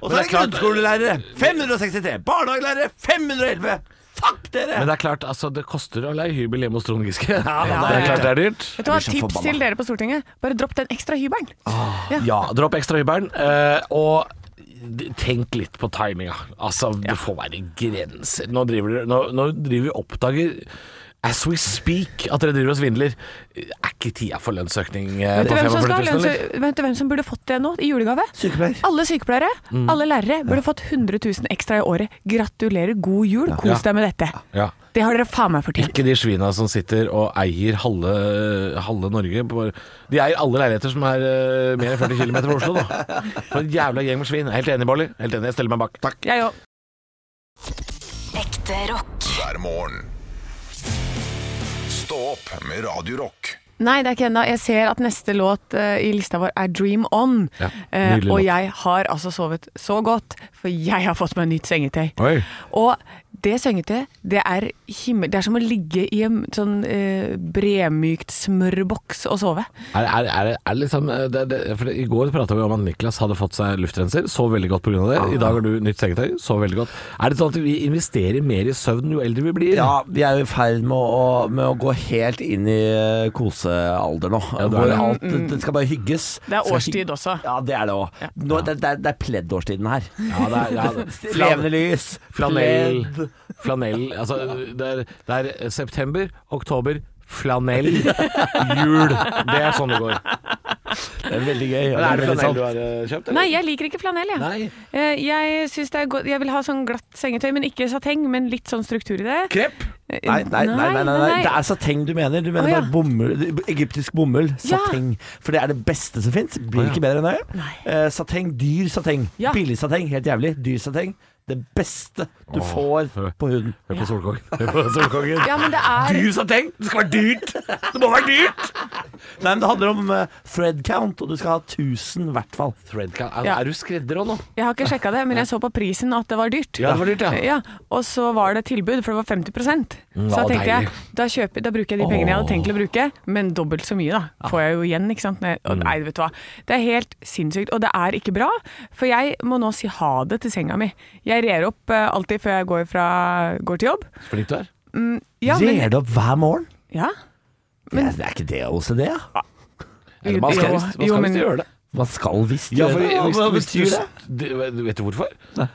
[SPEAKER 3] Og så
[SPEAKER 4] Men det
[SPEAKER 3] er det
[SPEAKER 4] er klart-
[SPEAKER 3] grunnskolelærere 563. Barnehagelærere 511. Takk, dere!
[SPEAKER 4] Men det er klart, altså, det koster å leie hybel hjemme hos Trond Giske.
[SPEAKER 3] ja,
[SPEAKER 4] det er
[SPEAKER 5] ja.
[SPEAKER 4] klart det er dyrt.
[SPEAKER 5] Vet du hva,
[SPEAKER 3] Jeg blir så
[SPEAKER 5] Tips
[SPEAKER 3] forbanna.
[SPEAKER 5] til dere på Stortinget. Bare dropp den ekstra hybelen.
[SPEAKER 4] Ja, dropp ekstra hybelen. eh, og d- tenk litt på timinga. Altså, det får være grenser. Nå driver dere nå, nå driver vi og oppdager As we speak, at dere driver og svindler. Er ikke tida for lønnsøkning eh,
[SPEAKER 5] Vet du
[SPEAKER 4] på
[SPEAKER 5] hvem som,
[SPEAKER 4] 45
[SPEAKER 5] skal,
[SPEAKER 4] 000,
[SPEAKER 5] ha
[SPEAKER 4] eller?
[SPEAKER 5] lønns- vet du hvem som burde fått det nå i julegave?
[SPEAKER 3] Sykepleier.
[SPEAKER 5] Alle sykepleiere,
[SPEAKER 4] Mm.
[SPEAKER 5] alle lærere burde fått 100 000 ekstra i året. Gratulerer, god jul, kos deg med dette.
[SPEAKER 4] Ja.
[SPEAKER 5] Det har dere faen meg fortjent.
[SPEAKER 4] Ikke de svina som sitter og eier halve, halve Norge. På, de eier alle leiligheter som er eh, mer enn 40 km fra Oslo, da. For en jævla gjeng med svin. Helt enig, Bolly. Helt enig, jeg steller meg bak. Takk.
[SPEAKER 5] Jeg òg.
[SPEAKER 1] Ekte rock.
[SPEAKER 2] hver morgen. Stå opp med Radio Rock.
[SPEAKER 5] Nei, det er ikke ennå. Jeg ser at neste låt eh, i lista vår er 'Dream On'.
[SPEAKER 4] Ja,
[SPEAKER 5] Eh,
[SPEAKER 4] nydelig
[SPEAKER 5] og
[SPEAKER 4] låt.
[SPEAKER 5] jeg har altså sovet så godt, for jeg har fått meg nytt sengetøy.
[SPEAKER 4] Oi.
[SPEAKER 5] Og det sengetøyet, det er himmel... Det er som å ligge i en sånn eh, bremykt smørboks og sove.
[SPEAKER 4] Er, er, er, er liksom, eh, det, det, for det, I går prata vi om at Niklas hadde fått seg luftrenser, sov veldig godt pga. det. I dag har du nytt sengetøy, sov veldig godt. Er det sånn at vi investerer mer i søvn jo eldre vi blir?
[SPEAKER 3] Ja, vi er jo i ferd med å, med å gå helt inn i eh, kosealder nå.
[SPEAKER 4] det er
[SPEAKER 3] hvor
[SPEAKER 4] det.
[SPEAKER 3] alt det, det skal bare hygges.
[SPEAKER 5] Mm, Det er
[SPEAKER 3] Skal
[SPEAKER 5] årstid
[SPEAKER 3] hygg-
[SPEAKER 5] også.
[SPEAKER 3] Ja, det er det òg. Det, det, er- det er pleddårstiden her.
[SPEAKER 4] Ja, det er, ja, det-
[SPEAKER 3] Levende lys,
[SPEAKER 4] Flanell,
[SPEAKER 3] pledd.
[SPEAKER 4] flanell altså, det, er, det er september, oktober, flanell, jul. Det er sånn det går.
[SPEAKER 3] Det er veldig gøy. og
[SPEAKER 4] Men er det
[SPEAKER 3] veldig sant.
[SPEAKER 4] flanell du har eh, kjøpt?
[SPEAKER 5] Nei, jeg liker ikke flanell, jeg.
[SPEAKER 4] Nei.
[SPEAKER 5] Eh, Jeg, synes det er godt- jeg vil ha sånn glatt sengetøy, men ikke sateng, men litt sånn struktur i det.
[SPEAKER 4] Krepp?
[SPEAKER 5] Eh,
[SPEAKER 3] Nei, nei, nei, nei, nei, nei. Det er sateng du mener. Du mener
[SPEAKER 5] Å, ja.
[SPEAKER 3] bare bomull, egyptisk bomull.
[SPEAKER 5] Ja.
[SPEAKER 3] Sateng. For det er det beste som fins. Blir ikke bedre enn det. Eh, sateng, dyr sateng.
[SPEAKER 5] Ja.
[SPEAKER 3] Billig sateng, helt jævlig. Dyr sateng. Det beste du får på huden.
[SPEAKER 4] Hør på Solkongen. Hør på Solkongen.
[SPEAKER 5] Ja, men det er
[SPEAKER 4] Dyr sateng! Det skal være dyrt! Det må være dyrt!
[SPEAKER 3] Nei, men det handler om eh, thread count, og du skal ha 1000 i hvert fall.
[SPEAKER 4] Threadcount. Er,
[SPEAKER 5] Ja.
[SPEAKER 4] er du skredder òg nå?
[SPEAKER 5] Jeg har ikke sjekka det, men jeg så på prisen at det var dyrt. Eh,
[SPEAKER 4] Ja, det var dyrt, ja.
[SPEAKER 5] Og så var det tilbud, for det var 50
[SPEAKER 3] Mm,
[SPEAKER 5] Så
[SPEAKER 4] ja,
[SPEAKER 5] da tenkte jeg
[SPEAKER 4] deilig.
[SPEAKER 5] da, kjøper, da bruker jeg de pengene jeg hadde tenkt til å bruke, men dobbelt så mye, da. Får jeg jo igjen, ikke sant. Når jeg,
[SPEAKER 3] Mm.
[SPEAKER 5] og, nei, vet du hva. Det er helt sinnssykt. Og det er ikke bra, for jeg må nå si ha det til senga mi. Jeg rer opp eh, alltid før jeg går, fra, går til jobb.
[SPEAKER 4] Så flink du er.
[SPEAKER 5] Ja, men,
[SPEAKER 3] Rer du opp hver morgen?
[SPEAKER 5] ja.
[SPEAKER 3] det, er, det er ikke det OCD, ja.
[SPEAKER 4] Eller Man skal
[SPEAKER 5] Jo,
[SPEAKER 4] visst man
[SPEAKER 5] jo,
[SPEAKER 4] skal
[SPEAKER 5] men-
[SPEAKER 4] visst gjøre det.
[SPEAKER 3] Man skal visst
[SPEAKER 4] Ja,
[SPEAKER 3] gjøre
[SPEAKER 4] for
[SPEAKER 3] det.
[SPEAKER 4] hvis,
[SPEAKER 3] Hva
[SPEAKER 4] hvis
[SPEAKER 3] betyr det?
[SPEAKER 4] du, du, vet du hvorfor?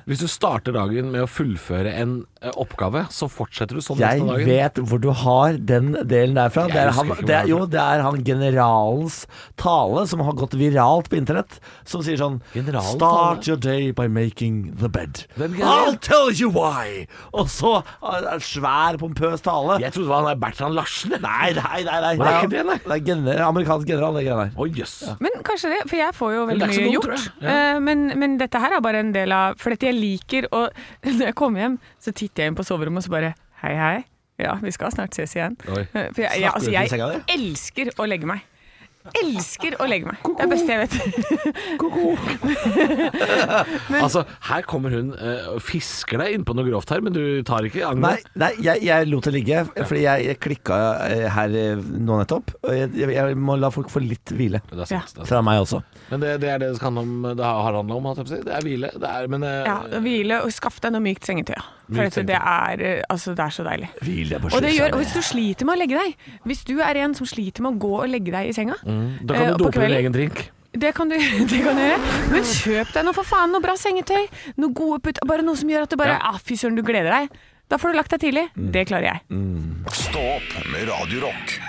[SPEAKER 4] Hvis du starter dagen med å fullføre en eh, oppgave, så fortsetter du sånn
[SPEAKER 3] Jeg
[SPEAKER 4] resten av dagen.
[SPEAKER 3] vet hvor du har den delen derfra.
[SPEAKER 4] Jeg
[SPEAKER 3] Det er,
[SPEAKER 4] husker
[SPEAKER 3] han,
[SPEAKER 4] ikke hvor
[SPEAKER 3] det
[SPEAKER 4] det
[SPEAKER 3] er,
[SPEAKER 4] er
[SPEAKER 3] jo,
[SPEAKER 4] fra.
[SPEAKER 3] det er han generalens tale som har gått viralt på internett, som sier sånn
[SPEAKER 4] Generalens
[SPEAKER 3] Start
[SPEAKER 4] tale?
[SPEAKER 3] your day by making the bed.
[SPEAKER 4] Hvem general?
[SPEAKER 3] I'll tell you why! Og så er det en svær, pompøs tale.
[SPEAKER 4] Jeg trodde det var han der Bertrand Larsen.
[SPEAKER 3] Nei, nei, nei. nei.
[SPEAKER 4] Hva er ikke det, nei?
[SPEAKER 3] Det er gener, amerikansk general, det greiene der.
[SPEAKER 4] Å, jøss.
[SPEAKER 5] Men kanskje det, for jeg får jo veldig
[SPEAKER 4] Men det er ikke så
[SPEAKER 5] mye
[SPEAKER 4] dumt, tror
[SPEAKER 5] gjort.
[SPEAKER 4] jeg.
[SPEAKER 5] Eh, Men, men dette her er bare en del av For dette jeg liker, og når jeg kommer hjem, så titter jeg inn på soverommet og så bare Hei, hei. Ja, vi skal snart ses igjen.
[SPEAKER 4] Oi.
[SPEAKER 5] Eh, For jeg,
[SPEAKER 3] Snakker
[SPEAKER 5] jeg,
[SPEAKER 3] du
[SPEAKER 5] altså,
[SPEAKER 3] til senga
[SPEAKER 5] jeg elsker å legge meg. Elsker å legge meg. Det er det beste jeg vet.
[SPEAKER 4] Altså, her kommer hun eh, og fisker deg innpå noe grovt her, men du tar ikke angre.
[SPEAKER 3] Nei, nei jeg, jeg lot det ligge, fordi jeg, jeg klikka eh, her eh, nå nettopp. Og jeg, jeg, jeg må la folk få litt hvile.
[SPEAKER 4] Det er sant. Det er sant.
[SPEAKER 3] Fra meg også.
[SPEAKER 4] Men det, det er det det skal handle om. Det har har handla om, holdt jeg på å si. Det er hvile. Det er, men eh,
[SPEAKER 5] Ja, Hvile og skaff deg noe mykt sengetøy. ja. For
[SPEAKER 4] Mykt
[SPEAKER 5] dette, det, er, eh, altså, det er så deilig.
[SPEAKER 3] Hvil deg på
[SPEAKER 5] Og det gjør, og hvis du sliter med å legge deg Hvis du er en som sliter med å gå og legge deg i senga
[SPEAKER 4] da kan
[SPEAKER 5] eh,
[SPEAKER 4] du
[SPEAKER 5] på
[SPEAKER 4] dope din
[SPEAKER 5] kvelden-
[SPEAKER 4] egen drink.
[SPEAKER 5] Det kan, du, det kan du gjøre. Men kjøp deg noe for faen, noe bra sengetøy. Noe gode putt, bare noe som gjør at du bare
[SPEAKER 4] Ja.
[SPEAKER 5] ah, Fy søren, du gleder deg. Da får du lagt deg tidlig.
[SPEAKER 3] Mm.
[SPEAKER 5] Det klarer jeg.
[SPEAKER 2] Stå opp med Radio Rock.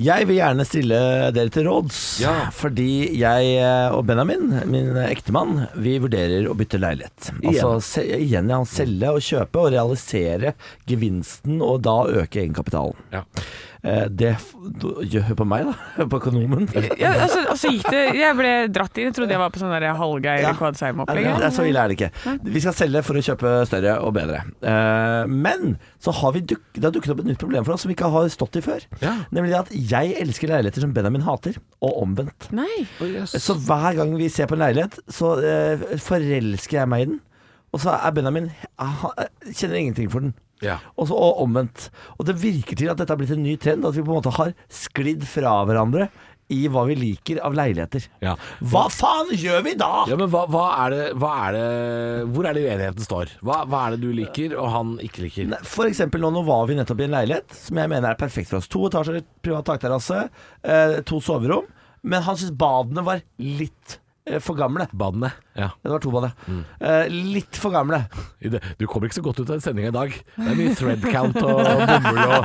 [SPEAKER 3] Jeg vil gjerne stille dere til råds,
[SPEAKER 4] Ja.
[SPEAKER 3] fordi jeg eh, og Benjamin, min ektemann, vi vurderer å bytte leilighet. Altså se, igjen, ja. Selge og kjøpe og realisere gevinsten, og da øke egenkapitalen.
[SPEAKER 4] Ja.
[SPEAKER 3] Eh, Det f- du- Hør på meg, da. Hør på økonomen.
[SPEAKER 5] Ja, og så- og så gikk det Jeg ble dratt inn. Jeg trodde jeg var på sånn der Hallgeir
[SPEAKER 3] Ja.
[SPEAKER 5] Kvadsheim-opplegg.
[SPEAKER 3] Nei, det er så ille er det ikke. Vi skal selge for å kjøpe større og bedre. Eh, Men så har vi duk det har dukket opp et nytt problem for oss som vi ikke har stått i før.
[SPEAKER 4] Ja.
[SPEAKER 3] Nemlig det at jeg elsker leiligheter som Benjamin hater, og omvendt.
[SPEAKER 5] Nei.
[SPEAKER 4] Å, jøss.
[SPEAKER 3] Så hver gang vi ser på en leilighet, så eh, forelsker jeg meg i den. Og så er Benjamin han kjenner ingenting for den.
[SPEAKER 4] Ja.
[SPEAKER 3] Og, så, og omvendt. Og det virker til at dette har blitt en ny trend, at vi på en måte har sklidd fra hverandre i hva vi liker av leiligheter.
[SPEAKER 4] Ja.
[SPEAKER 3] Hva faen gjør vi da?!
[SPEAKER 4] Ja, men hva, hva, er det, hva er det Hvor er det uenigheten står? Hva, hva er det du liker, og han ikke liker?
[SPEAKER 3] Nei, For eksempel nå, nå var vi nettopp i en leilighet som jeg mener er perfekt for oss. To etasjer, privat takterrasse, eh, to soverom. Men han syntes badene var litt eh, for gamle.
[SPEAKER 4] Badene. Ja.
[SPEAKER 3] Det var to bad, ja.
[SPEAKER 4] Mm.
[SPEAKER 3] Eh, litt for gamle.
[SPEAKER 4] I det- Du kommer ikke så godt ut av sendinga i dag. Det er mye thread count og bomull og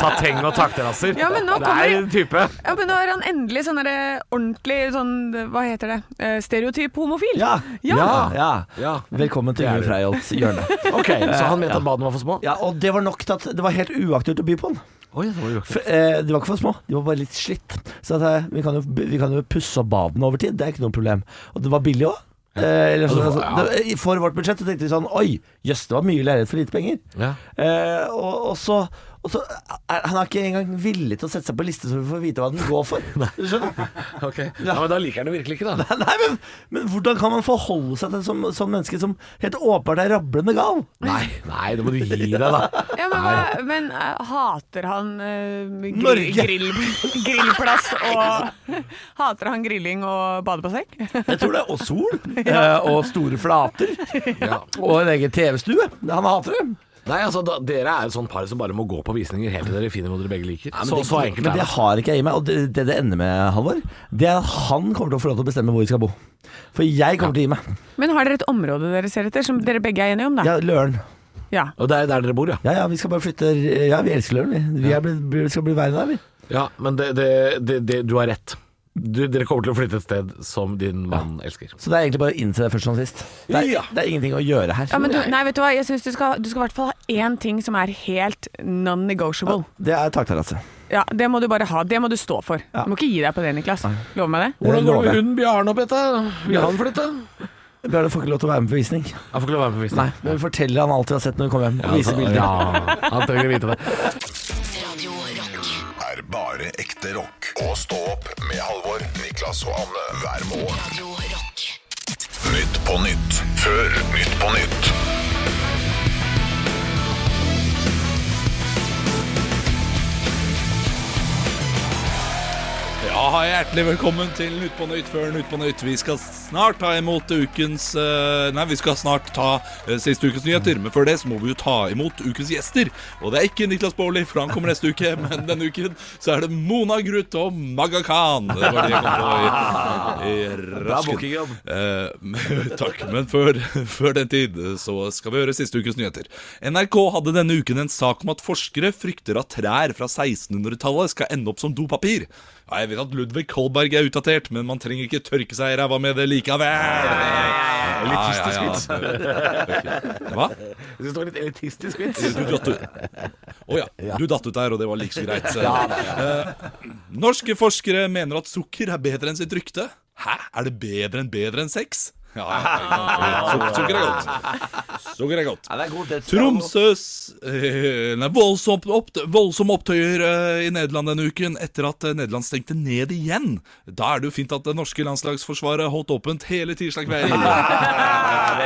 [SPEAKER 4] sateng og takterrasser.
[SPEAKER 5] Ja, men nå
[SPEAKER 4] det er
[SPEAKER 5] kommer-
[SPEAKER 4] en type.
[SPEAKER 5] Ja, men nå er han endelig sånn derre ordentlig sånn Hva heter det? Eh, Stereotyp homofil.
[SPEAKER 3] Ja!
[SPEAKER 5] Ja.
[SPEAKER 3] ja.
[SPEAKER 4] Ja.
[SPEAKER 3] Velkommen til
[SPEAKER 4] Det er
[SPEAKER 3] Ingrid
[SPEAKER 4] du.
[SPEAKER 3] Freiholts hjørne.
[SPEAKER 4] Ok, Så han mente at badene var for små?
[SPEAKER 3] Ja, og det var nok til at det var helt uaktuelt å by på den.
[SPEAKER 4] Oi, det var jo
[SPEAKER 3] For, eh, de var ikke for små, de var bare litt slitt. Så at, eh, vi, kan jo, vi kan jo pusse opp badene over tid, det er ikke noe problem. Og det var billig òg. Eh, eller sånn,
[SPEAKER 4] Ja, det var-
[SPEAKER 3] altså, det- i- for vårt budsjett så tenkte vi sånn Oi, jøss, det var mye leilighet for lite penger.
[SPEAKER 4] Ja.
[SPEAKER 3] Eh, og, og så, og så er, Han er ikke engang villig til å sette seg på liste så vi får vite hva den går for. Du skjønner?
[SPEAKER 4] Ok. Ja, men Da liker han det virkelig ikke, da.
[SPEAKER 3] Nei, men, men hvordan kan man forholde seg til et sånt sånn menneske som helt åpenbart er rablende gal?
[SPEAKER 4] Nei, nei, det må du gi deg, da.
[SPEAKER 5] Ja, men, hva, men eh, hater han eh, grill,
[SPEAKER 3] Norge.
[SPEAKER 5] Grill, grillplass og Hater han grilling og badebasseng?
[SPEAKER 3] Jeg tror det. Og sol. eh, og store flater.
[SPEAKER 4] Ja.
[SPEAKER 3] Og en egen TV-stue. Han hater det.
[SPEAKER 4] Nei, altså, da, Dere er et sånt par som bare må gå på visninger helt til dere finner noe dere begge liker. så, så enkelt
[SPEAKER 3] men
[SPEAKER 4] er
[SPEAKER 3] det
[SPEAKER 4] det.
[SPEAKER 3] har ikke jeg i meg. Og det, det det ender med, Halvor, det er at han kommer til å få lov til å bestemme hvor vi skal bo. For jeg kommer til å gi meg.
[SPEAKER 5] Men har dere et område dere ser etter, som dere begge er enige om, da?
[SPEAKER 3] Ja, Løren.
[SPEAKER 5] Ja.
[SPEAKER 4] Og det er der dere bor, ja.
[SPEAKER 3] Ja ja, vi skal bare flytte Ja, vi elsker Løren, vi. Vi er blitt- vi skal bli verre der, vi.
[SPEAKER 4] Ja, men det, det, det, det, du har rett. Du, dere kommer til å flytte et sted som din mann elsker.
[SPEAKER 3] Så det er egentlig bare å innse det først som sist. Det er,
[SPEAKER 4] Ja.
[SPEAKER 3] det er ingenting å gjøre her.
[SPEAKER 5] Ja, men du, nei, vet du hva? Jeg synes du skal, du skal i hvert fall ha én ting som er helt non-negotiable.
[SPEAKER 3] Det er takterrasse.
[SPEAKER 5] Ja, Det må du bare ha. Det må du stå for.
[SPEAKER 3] Ja.
[SPEAKER 5] Du må ikke gi deg på det, Niklas. Lover meg det.
[SPEAKER 3] Hvordan går det med
[SPEAKER 4] hunden Bjarne opp etter? Vil han flytte?
[SPEAKER 3] Bjarne får ikke lov til å være med på visning.
[SPEAKER 4] Han får ikke lov til å være med på
[SPEAKER 3] Nei,
[SPEAKER 4] visning.
[SPEAKER 3] men vi forteller han alt vi har sett når vi kommer hjem. Og viser bilder.
[SPEAKER 4] Ja, han trenger å vite det.
[SPEAKER 1] Radio Rock.
[SPEAKER 2] er bare ekte rock. Og stå opp med Halvor, Niklas og Anne hver morgen.
[SPEAKER 1] Radio Rock.
[SPEAKER 2] Nytt på nytt før Nytt på nytt.
[SPEAKER 8] Ja, hjertelig velkommen til Nytt på Nytt før Nytt på Nytt. Vi skal snart ta imot ukens eh, Nei, vi skal snart ta eh, siste ukens nyheter, men før det så må vi jo ta imot ukens gjester. Og det er ikke Niklas Baarli, for han kommer neste uke, men denne uken så er det Mona Gruth og Maga Khan. Det var det jeg kom på i, i rasken.
[SPEAKER 4] bookingjobb.
[SPEAKER 8] Eh, men- takk. Men før, før den tid eh, så skal vi høre siste ukes nyheter. NRK hadde denne uken en sak om at forskere frykter at trær fra 1600-tallet skal ende opp som dopapir. Ja, jeg vet at Ludvig Kolberg er utdatert, men man trenger ikke tørke seg i ræva med det likevel. Ja, ja, ja. Ok. Hva?
[SPEAKER 4] Jeg synes det var litt elitistisk vits.
[SPEAKER 8] Du datt ut. Å ja. Du datt ut der, og det var like så greit. Eh, norske forskere mener at sukker er bedre enn sitt rykte. Hæ? Er det bedre enn bedre enn sex? Ja, ja, ja. Suk- Sukker er godt. Sukker er godt.
[SPEAKER 3] Ja, det er god death struggle.
[SPEAKER 8] Tromsøs eh, nei, voldsomt opp, voldsomme opptøyer eh, i Nederland denne uken etter at eh, Nederland stengte ned igjen. Da er det jo fint at det norske landslagsforsvaret holdt åpent hele tirsdag kveld.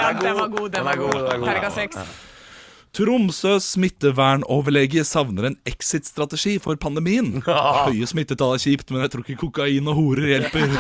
[SPEAKER 5] Ja, den var god, den var god. Terningkast seks.
[SPEAKER 8] Tromsø smittevernoverlege savner en exit-strategi for pandemien. Høye smittetall er kjipt, men jeg tror ikke kokain og horer hjelper.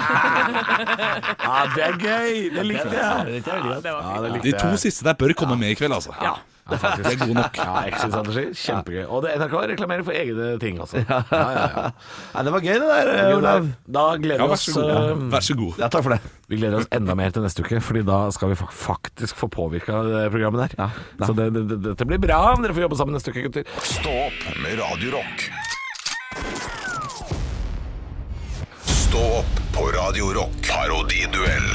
[SPEAKER 4] Ja, det er gøy. Det likte jeg. Ja, det likte
[SPEAKER 8] De to siste der bør komme med i kveld, altså.
[SPEAKER 5] Ja.
[SPEAKER 4] Ja, faktisk. Det er god nok. Ja, Exit-strategi. Kjempegøy. Og det, NRK reklamerer for egne ting også. Ja, ja, ja.
[SPEAKER 3] Ja, det var gøy, det der, eh, Olav.
[SPEAKER 4] Da gleder vi
[SPEAKER 8] Ja, vær
[SPEAKER 4] oss
[SPEAKER 8] så god.
[SPEAKER 4] eh,
[SPEAKER 8] Vær så god.
[SPEAKER 3] Ja, takk for det.
[SPEAKER 4] Vi gleder oss enda mer til neste uke, Fordi da skal vi fak- faktisk få påvirka det programmet der. Så det, det, det- dette blir bra. Dere får jobbe sammen neste uke, gutter.
[SPEAKER 2] Stå opp med Radio Rock. Stå opp på Radio Rock. Parodiduell.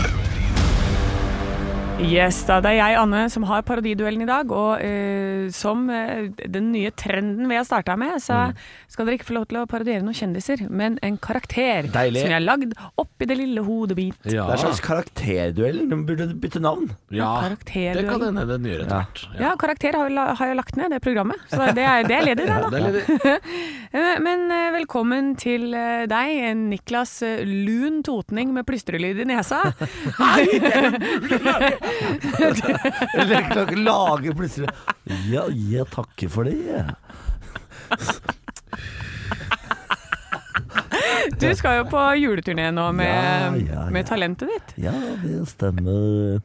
[SPEAKER 5] Yes, da, det er jeg, Anne, som har parodiduellen i dag. Og eh, som eh, den nye trenden vi har starta med, så skal dere ikke få lov til å parodiere noen kjendiser, men en karakter
[SPEAKER 3] Deilig.
[SPEAKER 5] som jeg har lagd oppi det lille hodet mitt.
[SPEAKER 3] Det
[SPEAKER 4] Ja,
[SPEAKER 3] er en slags karakterduell. De burde bytte navn.
[SPEAKER 5] Ah,
[SPEAKER 4] ja.
[SPEAKER 5] Karakterduell.
[SPEAKER 4] Det kan hende den gjør etter hvert.
[SPEAKER 5] Ja, karakter har, jo la- har jeg lagt ned, det programmet. Så det er, det er ledig, det, da.
[SPEAKER 4] Det er litt-
[SPEAKER 5] Eh, Men eh, velkommen til eh, deg, Niklas eh, Lun Totning med plystrelyd i nesa.
[SPEAKER 3] Eller kan ikke lage plutselig Ja, jeg takker for det. jeg.
[SPEAKER 5] Du skal jo på juleturné nå med,
[SPEAKER 3] Ja, ja, ja.
[SPEAKER 5] med talentet ditt.
[SPEAKER 3] Ja, det stemmer.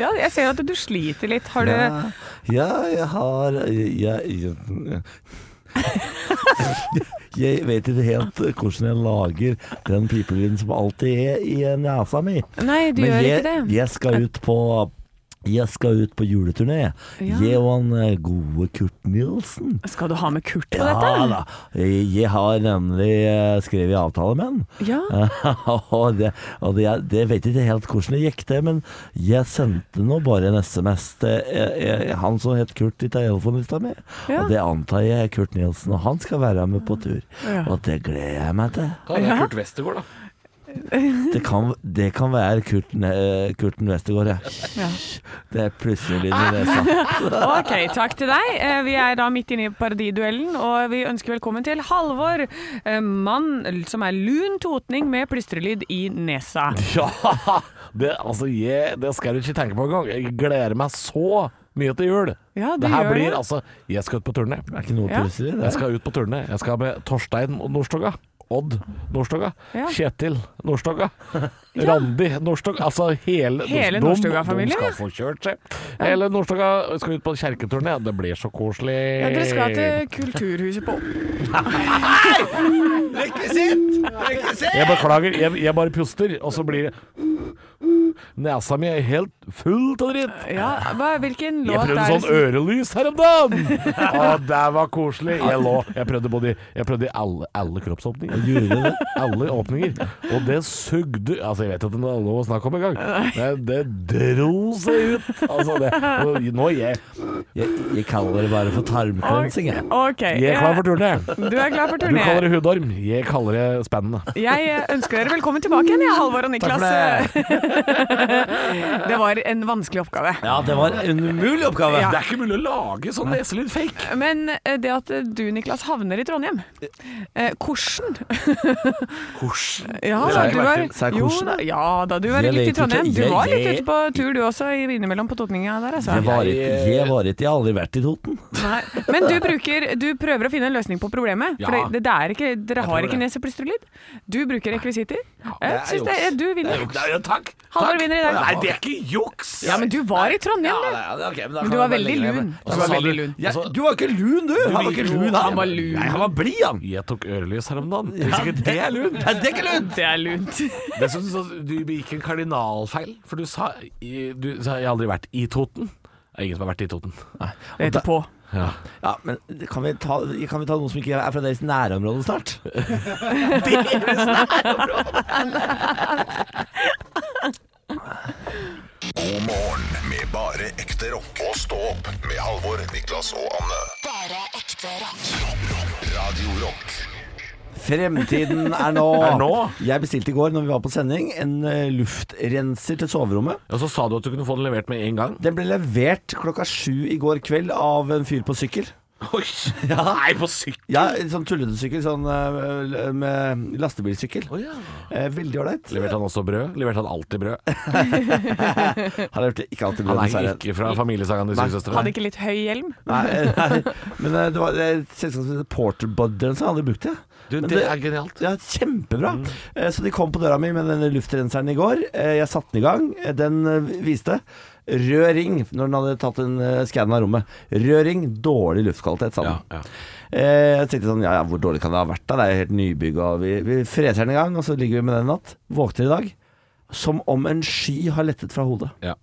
[SPEAKER 5] Ja, jeg ser jo at du sliter litt. Har du
[SPEAKER 3] Ja, ja jeg har jeg, jeg, jeg vet ikke helt hvordan jeg lager den pipelyden som alltid er i nesa mi.
[SPEAKER 5] Nei, du
[SPEAKER 3] Men
[SPEAKER 5] gjør
[SPEAKER 3] jeg,
[SPEAKER 5] ikke det.
[SPEAKER 3] jeg skal ut på jeg skal ut på juleturné.
[SPEAKER 5] Ja.
[SPEAKER 3] Jeg og han eh, gode Kurt Nilsen.
[SPEAKER 5] Skal du ha med Kurt på
[SPEAKER 3] Ja
[SPEAKER 5] dette?
[SPEAKER 3] da. Jeg jeg har nemlig eh, skrevet avtale med han.
[SPEAKER 5] Ja.
[SPEAKER 3] og det, og det, jeg, det vet jeg ikke helt hvordan det gikk til, men jeg sendte nå bare en SMS til eh, eh, han som het Kurt i telefonlista mi.
[SPEAKER 5] Ja.
[SPEAKER 3] Og det antar jeg er Kurt Nielsen, og han skal være med på tur.
[SPEAKER 5] Ja.
[SPEAKER 3] Og det gleder jeg meg til.
[SPEAKER 4] Ja, det er Kurt Westergård, da.
[SPEAKER 3] Det kan, det kan være Kurten, eh, Kurten Westergård, ja.
[SPEAKER 5] Ja. Ah.
[SPEAKER 3] Det er plutselig lyd i nesa.
[SPEAKER 5] Ok, takk til deg. Eh, Vi er da midt inne i parodiduellen, og vi ønsker velkommen til Halvor. eh, Mann som er lun totning med plystrelyd i nesa.
[SPEAKER 4] Ja! Det, altså, jeg, det skal du ikke tenke på engang. Jeg gleder meg så mye til jul.
[SPEAKER 5] Ja, du
[SPEAKER 4] det her
[SPEAKER 5] gjør
[SPEAKER 4] blir
[SPEAKER 5] det.
[SPEAKER 4] altså Jeg skal ut på turné.
[SPEAKER 3] Det er ikke noe
[SPEAKER 5] Ja.
[SPEAKER 3] plutselig, det.
[SPEAKER 4] Jeg skal ut på turné. Jeg skal med Torstein Nordstoga. Odd Nordstoga.
[SPEAKER 5] Ja.
[SPEAKER 4] Kjetil Nordstoga. Randi Nordstoga. Altså hele,
[SPEAKER 5] Hele
[SPEAKER 4] de-
[SPEAKER 5] Nordstoga-familien,
[SPEAKER 4] De skal få kjørt seg. Hele Nordstoga skal ut på kjerketurné. Det blir så koselig.
[SPEAKER 5] Ja, dere skal til Kulturhuset på
[SPEAKER 4] Jeg beklager, jeg, jeg bare puster, og så blir det Nesa mi er helt fullt av dritt.
[SPEAKER 5] Ja, hva, hvilken låt
[SPEAKER 4] Jeg prøvde sånn
[SPEAKER 5] liksom-
[SPEAKER 4] ørelys her om dagen! Å, det var koselig. Jeg lå Jeg prøvde både i- Jeg prøvde i alle, alle kroppsåpninger. Alle åpninger. Og det sugde Altså, jeg vet at det er lov å snakke om engang, men det dro seg ut. Altså, det og Nå er jeg,
[SPEAKER 3] Jeg, jeg kaller det bare for tarmklensing, jeg.
[SPEAKER 5] Ok, eh,
[SPEAKER 4] jeg er klar for turné.
[SPEAKER 5] Du er klar for
[SPEAKER 4] Du kaller
[SPEAKER 5] turné.
[SPEAKER 4] det hudorm, jeg kaller det spennende.
[SPEAKER 5] Jeg eh, ønsker dere velkommen tilbake igjen, jeg, Halvor og Niklas. det var en vanskelig oppgave.
[SPEAKER 3] Ja, det var en umulig oppgave.
[SPEAKER 5] Ja.
[SPEAKER 4] Det er ikke mulig å lage sånn neselyd fake.
[SPEAKER 5] Men eh, det at eh, du, Niklas, havner i Trondheim eh, Korsen. Ja,
[SPEAKER 3] Sa jeg
[SPEAKER 5] du
[SPEAKER 3] ikke
[SPEAKER 5] var,
[SPEAKER 3] det? Sa jeg
[SPEAKER 5] jo,
[SPEAKER 3] korsen?
[SPEAKER 5] da, ja da, du var
[SPEAKER 3] Jeg
[SPEAKER 5] litt i
[SPEAKER 3] vet ikke.
[SPEAKER 5] Trondheim. Du
[SPEAKER 3] Jeg-
[SPEAKER 5] var litt
[SPEAKER 3] jeg-
[SPEAKER 5] ute på tur du også, i- innimellom på Totninga der, altså.
[SPEAKER 3] Jeg var ikke, jeg var ikke, jeg har aldri vært i Toten.
[SPEAKER 5] Nei. Men du, bruker, du prøver å finne en løsning på problemet. For
[SPEAKER 4] Ja.
[SPEAKER 5] det, det er ikke, dere har ikke neseplystrelyd. Du bruker rekvisitter. Jeg synes det er, du vinner.
[SPEAKER 4] Nei, takk.
[SPEAKER 5] Halvor vinner i dag.
[SPEAKER 4] Nei, det er ikke juks!
[SPEAKER 5] Ja, men du var i Trondheim, du.
[SPEAKER 3] Ja, det- ok, men da
[SPEAKER 5] Men
[SPEAKER 3] kan jeg
[SPEAKER 5] du var
[SPEAKER 3] bare
[SPEAKER 5] veldig
[SPEAKER 3] legge det med.
[SPEAKER 5] lun.
[SPEAKER 3] Og
[SPEAKER 5] Du
[SPEAKER 3] så
[SPEAKER 5] var
[SPEAKER 3] sa
[SPEAKER 5] veldig lun.
[SPEAKER 3] Ja,
[SPEAKER 4] Altså-
[SPEAKER 3] du var ikke lun, du! Han var ikke lun.
[SPEAKER 5] Han var lun.
[SPEAKER 3] Nei, han var blid, han.
[SPEAKER 4] Jeg tok ørelys her om dagen. Hvis ikke det er lurt.
[SPEAKER 3] Nei, det er ikke lun.
[SPEAKER 5] Det er lunt.
[SPEAKER 4] Dessuten sånn så du begikk en kardinalfeil, for du sa, i- du sa 'jeg har aldri vært i Toten'. Det er ingen som har vært i Toten.
[SPEAKER 5] Det heter på.
[SPEAKER 4] Ja.
[SPEAKER 3] Ja, men kan vi, ta, kan vi ta noen som ikke er fra deres nærområde snart?
[SPEAKER 2] God morgen med bare ekte rock. Og stå opp med Halvor, Niklas og Anne.
[SPEAKER 1] Bare ekte rock.
[SPEAKER 2] Radio Rock
[SPEAKER 3] Fremtiden er nå.
[SPEAKER 4] Er nå?
[SPEAKER 3] Jeg bestilte i går, når vi var på sending, en eh, luftrenser til soverommet.
[SPEAKER 4] Og så sa du at du kunne få den levert med en gang.
[SPEAKER 3] Den ble levert klokka sju i går kveld av en fyr på sykkel.
[SPEAKER 4] Oi! Nei, på sykkel!
[SPEAKER 3] Ja, en sånn tullete sykkel, sånn eh, med lastebilsykkel.
[SPEAKER 4] Å, ja.
[SPEAKER 3] Eh, Veldig ålreit.
[SPEAKER 4] Leverte han også brød? Leverte han alltid brød?
[SPEAKER 3] Han leverte ikke alltid
[SPEAKER 4] Han
[SPEAKER 3] brød,
[SPEAKER 4] er
[SPEAKER 3] dessverre.
[SPEAKER 4] ikke fra familiesagan til
[SPEAKER 3] Nei.
[SPEAKER 5] Hadde
[SPEAKER 4] sykesøstrene.
[SPEAKER 5] ikke litt høy hjelm.
[SPEAKER 3] Nei, nei, men eh, det var det er et selskap som heter Porter Bud eller noe sånt. Jeg hadde brukt det.
[SPEAKER 4] Du,
[SPEAKER 3] Men
[SPEAKER 4] det er genialt.
[SPEAKER 3] Ja, kjempebra.
[SPEAKER 4] Mm.
[SPEAKER 3] Eh, Så de kom på døra mi med denne luftrenseren i går. Eh, Jeg satte den i gang. Eh, Den eh, viste rød ring når den hadde tatt en eh, skann av rommet. Rød ring, dårlig luftkvalitet, sa den.
[SPEAKER 4] Ja, ja.
[SPEAKER 3] Eh, Jeg tenkte sånn, ja, ja, hvor dårlig kan det ha vært da? Det er jo helt nybygg, og vi, vi freser den i gang, og så ligger vi med den i natt. Våkner i dag som om en sky har lettet fra hodet.
[SPEAKER 4] Ja.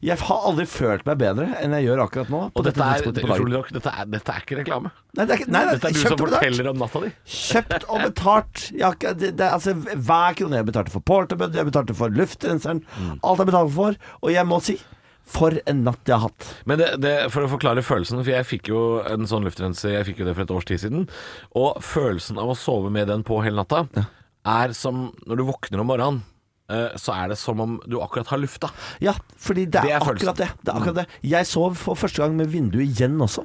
[SPEAKER 3] Jeg har aldri følt meg bedre enn jeg gjør akkurat nå. på
[SPEAKER 4] Og dette er,
[SPEAKER 3] tidspunktet på dagen.
[SPEAKER 4] utrolig nok, dette er, dette er ikke reklame.
[SPEAKER 3] Nei, det er ikke, nei, nei,
[SPEAKER 4] Dette er du
[SPEAKER 3] kjøpt
[SPEAKER 4] som
[SPEAKER 3] og betalt.
[SPEAKER 4] forteller om natta di.
[SPEAKER 3] Kjøpt og betalt. Jeg har ikke, det, det, er altså, hver krone jeg betalte for porterbødd, jeg betalte for luftrenseren, alt jeg betalte for. Og jeg må si, for en natt jeg har hatt.
[SPEAKER 4] Men det, det, for å forklare følelsen, for jeg fikk jo en sånn luftrenser Jeg fikk jo det for et års tid siden. Og følelsen av å sove med den på hele natta er som når du våkner om morgenen, eh, så er det som om du akkurat har lufta.
[SPEAKER 3] Ja, fordi det er,
[SPEAKER 4] Det er følelsen. Mm.
[SPEAKER 3] akkurat det. det, er akkurat det. Jeg sov for første gang med vinduet igjen også.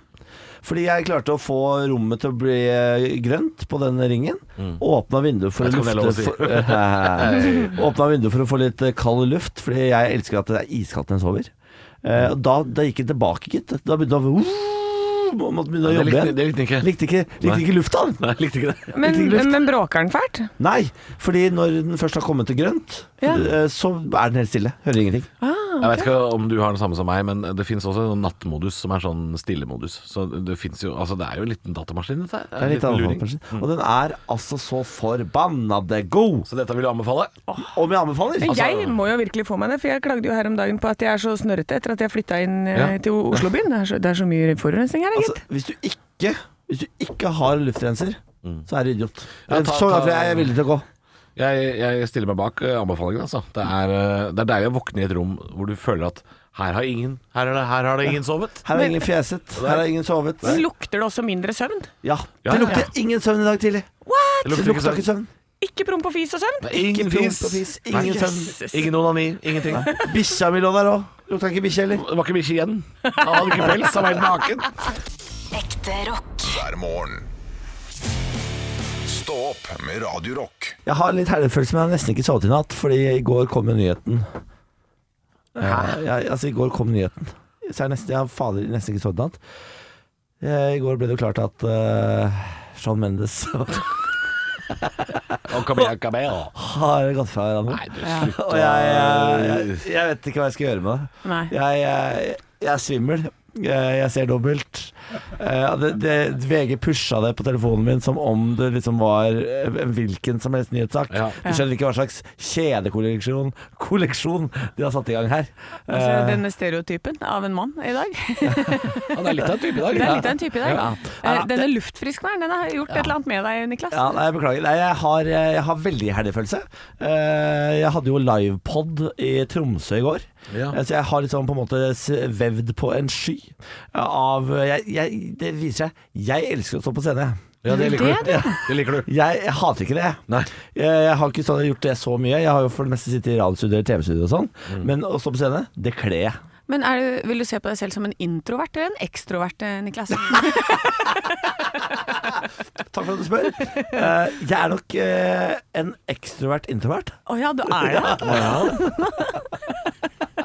[SPEAKER 3] Fordi jeg klarte å få rommet til å bli eh, grønt på den ringen. Åpna vinduet for å
[SPEAKER 4] Mm. Jeg tror det er
[SPEAKER 3] lufte
[SPEAKER 4] lov å si.
[SPEAKER 3] for, eh, Åpna vinduet for å få litt eh, kald luft, fordi jeg elsker at det er iskaldt når jeg sover. Eh, og da, da gikk jeg tilbake, gitt. Da begynte det å og måtte begynne å
[SPEAKER 4] Det
[SPEAKER 3] jobbe
[SPEAKER 4] likte,
[SPEAKER 3] igjen.
[SPEAKER 4] det likte ikke.
[SPEAKER 3] Likte ikke, likte
[SPEAKER 4] Nei.
[SPEAKER 3] ikke lufta, han.
[SPEAKER 4] Nei, jeg likte ikke det.
[SPEAKER 5] Men,
[SPEAKER 3] Litt luft.
[SPEAKER 5] men bråker den fælt?
[SPEAKER 3] Nei, fordi når den først har kommet til grønt,
[SPEAKER 5] Ja.
[SPEAKER 3] eh, så er den helt stille. Hører ingenting.
[SPEAKER 4] Jeg vet ikke om du har den samme som meg, men det finnes også en nattmodus som er sånn stillemodus. Så det finnes jo Altså, det er jo en liten datamaskin, dette her.
[SPEAKER 3] Det er
[SPEAKER 4] En
[SPEAKER 3] litt
[SPEAKER 4] liten
[SPEAKER 3] annet,
[SPEAKER 4] luring. Mm.
[SPEAKER 3] kanskje. Og den er altså så forbannade god.
[SPEAKER 4] Så dette vil du anbefale?
[SPEAKER 3] Om jeg anbefaler?
[SPEAKER 5] Men jeg må jo virkelig få meg det, for jeg klagde jo her om dagen på at jeg er så snørrete etter at jeg flytta inn eh,
[SPEAKER 4] Ja.
[SPEAKER 5] til Oslobyen. Det, er så- det er så mye forurensning her,
[SPEAKER 3] Altså,
[SPEAKER 5] gitt.
[SPEAKER 3] hvis du ikke Hvis du ikke har luftrenser, så er du idiot.
[SPEAKER 4] Mm. Ja, ta-
[SPEAKER 3] så langt
[SPEAKER 4] ta-
[SPEAKER 3] jeg er villig til å gå.
[SPEAKER 4] Jeg, jeg stiller meg bak eh, anbefalingen, altså. Det er, eh, det er deilig å våkne i et rom hvor du føler at her har ingen, her er det, her har det ingen sovet.
[SPEAKER 3] Her har ingen fjeset, her har ingen sovet.
[SPEAKER 5] Men lukter det også mindre søvn?
[SPEAKER 3] Ja,
[SPEAKER 4] Ja,
[SPEAKER 3] Det
[SPEAKER 4] ja,
[SPEAKER 3] lukter ingen søvn i dag tidlig.
[SPEAKER 5] What?!
[SPEAKER 3] Det lukter ikke søvn.
[SPEAKER 5] Ikke promp og fis og søvn?
[SPEAKER 4] Det er Ingen
[SPEAKER 3] Ikke
[SPEAKER 4] fis.
[SPEAKER 3] promp og fis, ingen
[SPEAKER 4] Nei.
[SPEAKER 3] søvn.
[SPEAKER 5] Jesus.
[SPEAKER 4] Ingen onani. Ingenting.
[SPEAKER 3] Bikkja mi lå der òg. Lukta ikke bikkje heller.
[SPEAKER 4] Det var ikke bikkje igjen. Han hadde ikke pels, han var helt naken.
[SPEAKER 1] Ekte rock.
[SPEAKER 2] hver morgen. Stå opp med Radio Rock.
[SPEAKER 3] Jeg har litt herrefølelse, men jeg har nesten ikke sovet i natt, fordi i går kom jo nyheten. Eh, Jeg, altså, i går kom nyheten. Så jeg, nesten, jeg har fader nesten ikke sovet i natt. Eh, I går ble det jo klart at uh, Shawn Mendes
[SPEAKER 4] Og kabel, kabel.
[SPEAKER 3] har gått fra hverandre.
[SPEAKER 4] Nei, du slutt
[SPEAKER 3] Og jeg, jeg, jeg vet ikke hva jeg skal gjøre med det.
[SPEAKER 5] Nei.
[SPEAKER 3] Jeg, jeg, jeg er svimmel. Jeg jeg ser dobbelt. Eh, Det, det, VG pusha det på telefonen min som om det liksom var eh, en hvilken som helst nyhetssak.
[SPEAKER 4] Ja.
[SPEAKER 3] Du skjønner ikke hva slags kjedekolleksjon kolleksjon de har satt i gang her.
[SPEAKER 5] Altså,
[SPEAKER 3] Eh,
[SPEAKER 5] denne stereotypen av en mann i dag.
[SPEAKER 4] Han er litt av en type i dag.
[SPEAKER 5] Det er litt av en type i dag.
[SPEAKER 3] Ja.
[SPEAKER 5] Eh, Denne luftfriskværen, den har gjort et eller annet med deg, Niklas.
[SPEAKER 3] Ja, nei, beklager. Nei, jeg har, eh, jeg har veldig helgefølelse. Eh, Jeg hadde jo livepod i Tromsø i går.
[SPEAKER 4] Ja.
[SPEAKER 3] Eh, Så jeg har liksom på en måte s- vevd på en sky av eh, jeg, jeg, Det viser seg jeg elsker å stå på scene.
[SPEAKER 4] Ja, det liker du.
[SPEAKER 5] Det
[SPEAKER 4] Det liker du.
[SPEAKER 3] Jeg, jeg hater ikke det.
[SPEAKER 4] Nei.
[SPEAKER 3] Jeg, jeg har ikke sånn, gjort det så mye. Jeg har jo for det meste sittet i radiostudio og TV-studio og sånn.
[SPEAKER 4] Mm.
[SPEAKER 3] Men å stå på scene, det kler jeg.
[SPEAKER 5] Men er du, vil du se på deg selv som en introvert eller en ekstrovert, eh, Niklas?
[SPEAKER 3] Takk for at du spør. Eh, Jeg er nok eh, en ekstrovert introvert.
[SPEAKER 5] Å ja, du er det?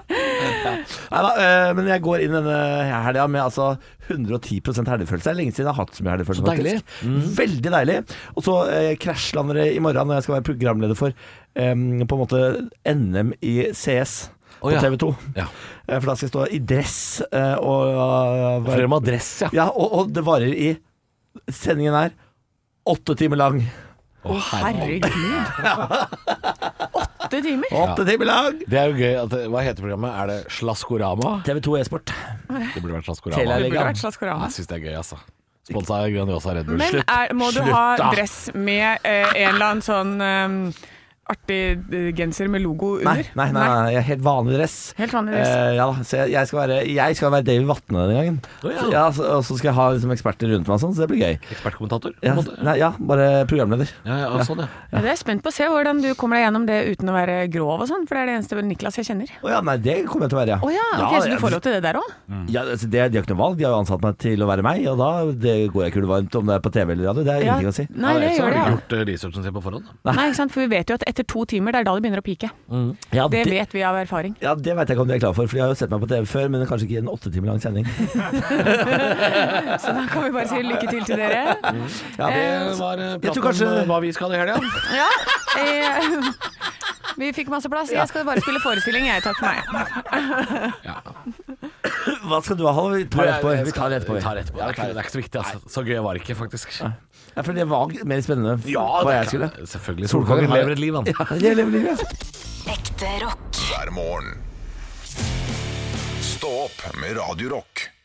[SPEAKER 3] Neida, eh, men jeg går inn denne helga med altså 110 helgefølelse. Det er lenge siden jeg har hatt så mye helgefølelse.
[SPEAKER 4] Så deilig.
[SPEAKER 3] faktisk. Veldig deilig. Og så eh, krasjlander det i morgen når jeg skal være programleder for eh, på en måte NM i CS på
[SPEAKER 4] Å, ja.
[SPEAKER 3] TV 2.
[SPEAKER 4] Ja.
[SPEAKER 3] For da skal jeg stå i dress eh, og eh, være-
[SPEAKER 4] Flere med adress, ja.
[SPEAKER 3] Ja, og, og det varer i Sendingen er åtte timer lang.
[SPEAKER 4] Å, herregud.
[SPEAKER 5] Herregud. Åtte timer?
[SPEAKER 3] Åtte timer lang!
[SPEAKER 4] Det er jo gøy. At, det- hva heter programmet? Er det Slaskorama?
[SPEAKER 3] TV 2 E-sport.
[SPEAKER 4] Det burde
[SPEAKER 3] Telia
[SPEAKER 4] vært Slaskorama.
[SPEAKER 5] Det burde
[SPEAKER 3] Elegant.
[SPEAKER 5] vært Slaskorama.
[SPEAKER 4] Jeg syns det er gøy, altså. Sponsa av Grandiosa Red Bull.
[SPEAKER 5] Men
[SPEAKER 4] Slutt.
[SPEAKER 5] er, må du
[SPEAKER 4] Slutt, da.
[SPEAKER 5] ha dress med eh, en eller annen sånn eh, artig eh, genser med logo
[SPEAKER 3] Nei,
[SPEAKER 5] under?
[SPEAKER 3] nei, nei, nei, jeg er helt vanlig dress.
[SPEAKER 5] Helt vanlig dress.
[SPEAKER 3] Eh, ja, da, så jeg, jeg, skal være, jeg skal være David Vatne denne gangen.
[SPEAKER 4] Å, ja.
[SPEAKER 3] Så- ja, så, og så skal jeg ha liksom, eksperter rundt meg, og sånn, så det blir gøy.
[SPEAKER 4] Ekspertkommentator? på
[SPEAKER 3] Ja,
[SPEAKER 4] en måte.
[SPEAKER 3] nei, ja, bare programleder.
[SPEAKER 4] Ja, ja, sånn, ja.
[SPEAKER 5] Ja, det er jeg spent på å se hvordan du kommer deg gjennom det uten å være grov og sånn, for det er det eneste vel Niklas jeg kjenner.
[SPEAKER 3] Å ja, nei, det kommer jeg til å være, ja.
[SPEAKER 5] Å ja, ok, så
[SPEAKER 3] jeg-
[SPEAKER 5] du får lov til det der òg?
[SPEAKER 3] ja, altså, det, De har ikke noe valg, de har jo ansatt meg til å være meg, og da det går jeg kulevarmt om det er på TV eller radio. Det er ingenting å si.
[SPEAKER 5] Nei, det
[SPEAKER 4] så har du
[SPEAKER 5] gjør
[SPEAKER 4] ikke
[SPEAKER 5] det. Ja.
[SPEAKER 4] gjort eh, researchen sin på forhånd. da.
[SPEAKER 5] Nei, ikke sant? For vi vet jo at etter to timer, det er da det begynner å pike.
[SPEAKER 3] Ja,
[SPEAKER 5] Det vet vi av erfaring.
[SPEAKER 3] Ja, Det veit jeg ikke om de er klar for, for de har jo sett meg på TV før, men kanskje ikke i en åtte timer lang sending.
[SPEAKER 5] Så da kan vi bare si lykke til til dere.
[SPEAKER 3] Ja,
[SPEAKER 4] Det var eh,
[SPEAKER 3] tror
[SPEAKER 4] prat
[SPEAKER 3] kanskje-
[SPEAKER 4] om eh, hva vi skal i helga.
[SPEAKER 5] Ja, eh, vi fikk masse plass. Jeg skal bare spille forestilling, jeg. Takk for meg.
[SPEAKER 3] Hva skal du ha, Halvor? Vi tar det etterpå. Vi tar det etterpå.
[SPEAKER 4] Vi tar det etterpå. Det er ikke- det er ikke så viktig, altså. Så gøy var det ikke, faktisk.
[SPEAKER 3] Ja, for det var mer spennende hva jeg skulle.
[SPEAKER 4] Selvfølgelig.
[SPEAKER 3] Solkongen
[SPEAKER 4] Solkongen lever
[SPEAKER 3] har-
[SPEAKER 4] et liv, han.
[SPEAKER 3] Ja, jeg lever livet.
[SPEAKER 1] Ekte rock.
[SPEAKER 2] hver morgen. Stå opp med Radio Rock.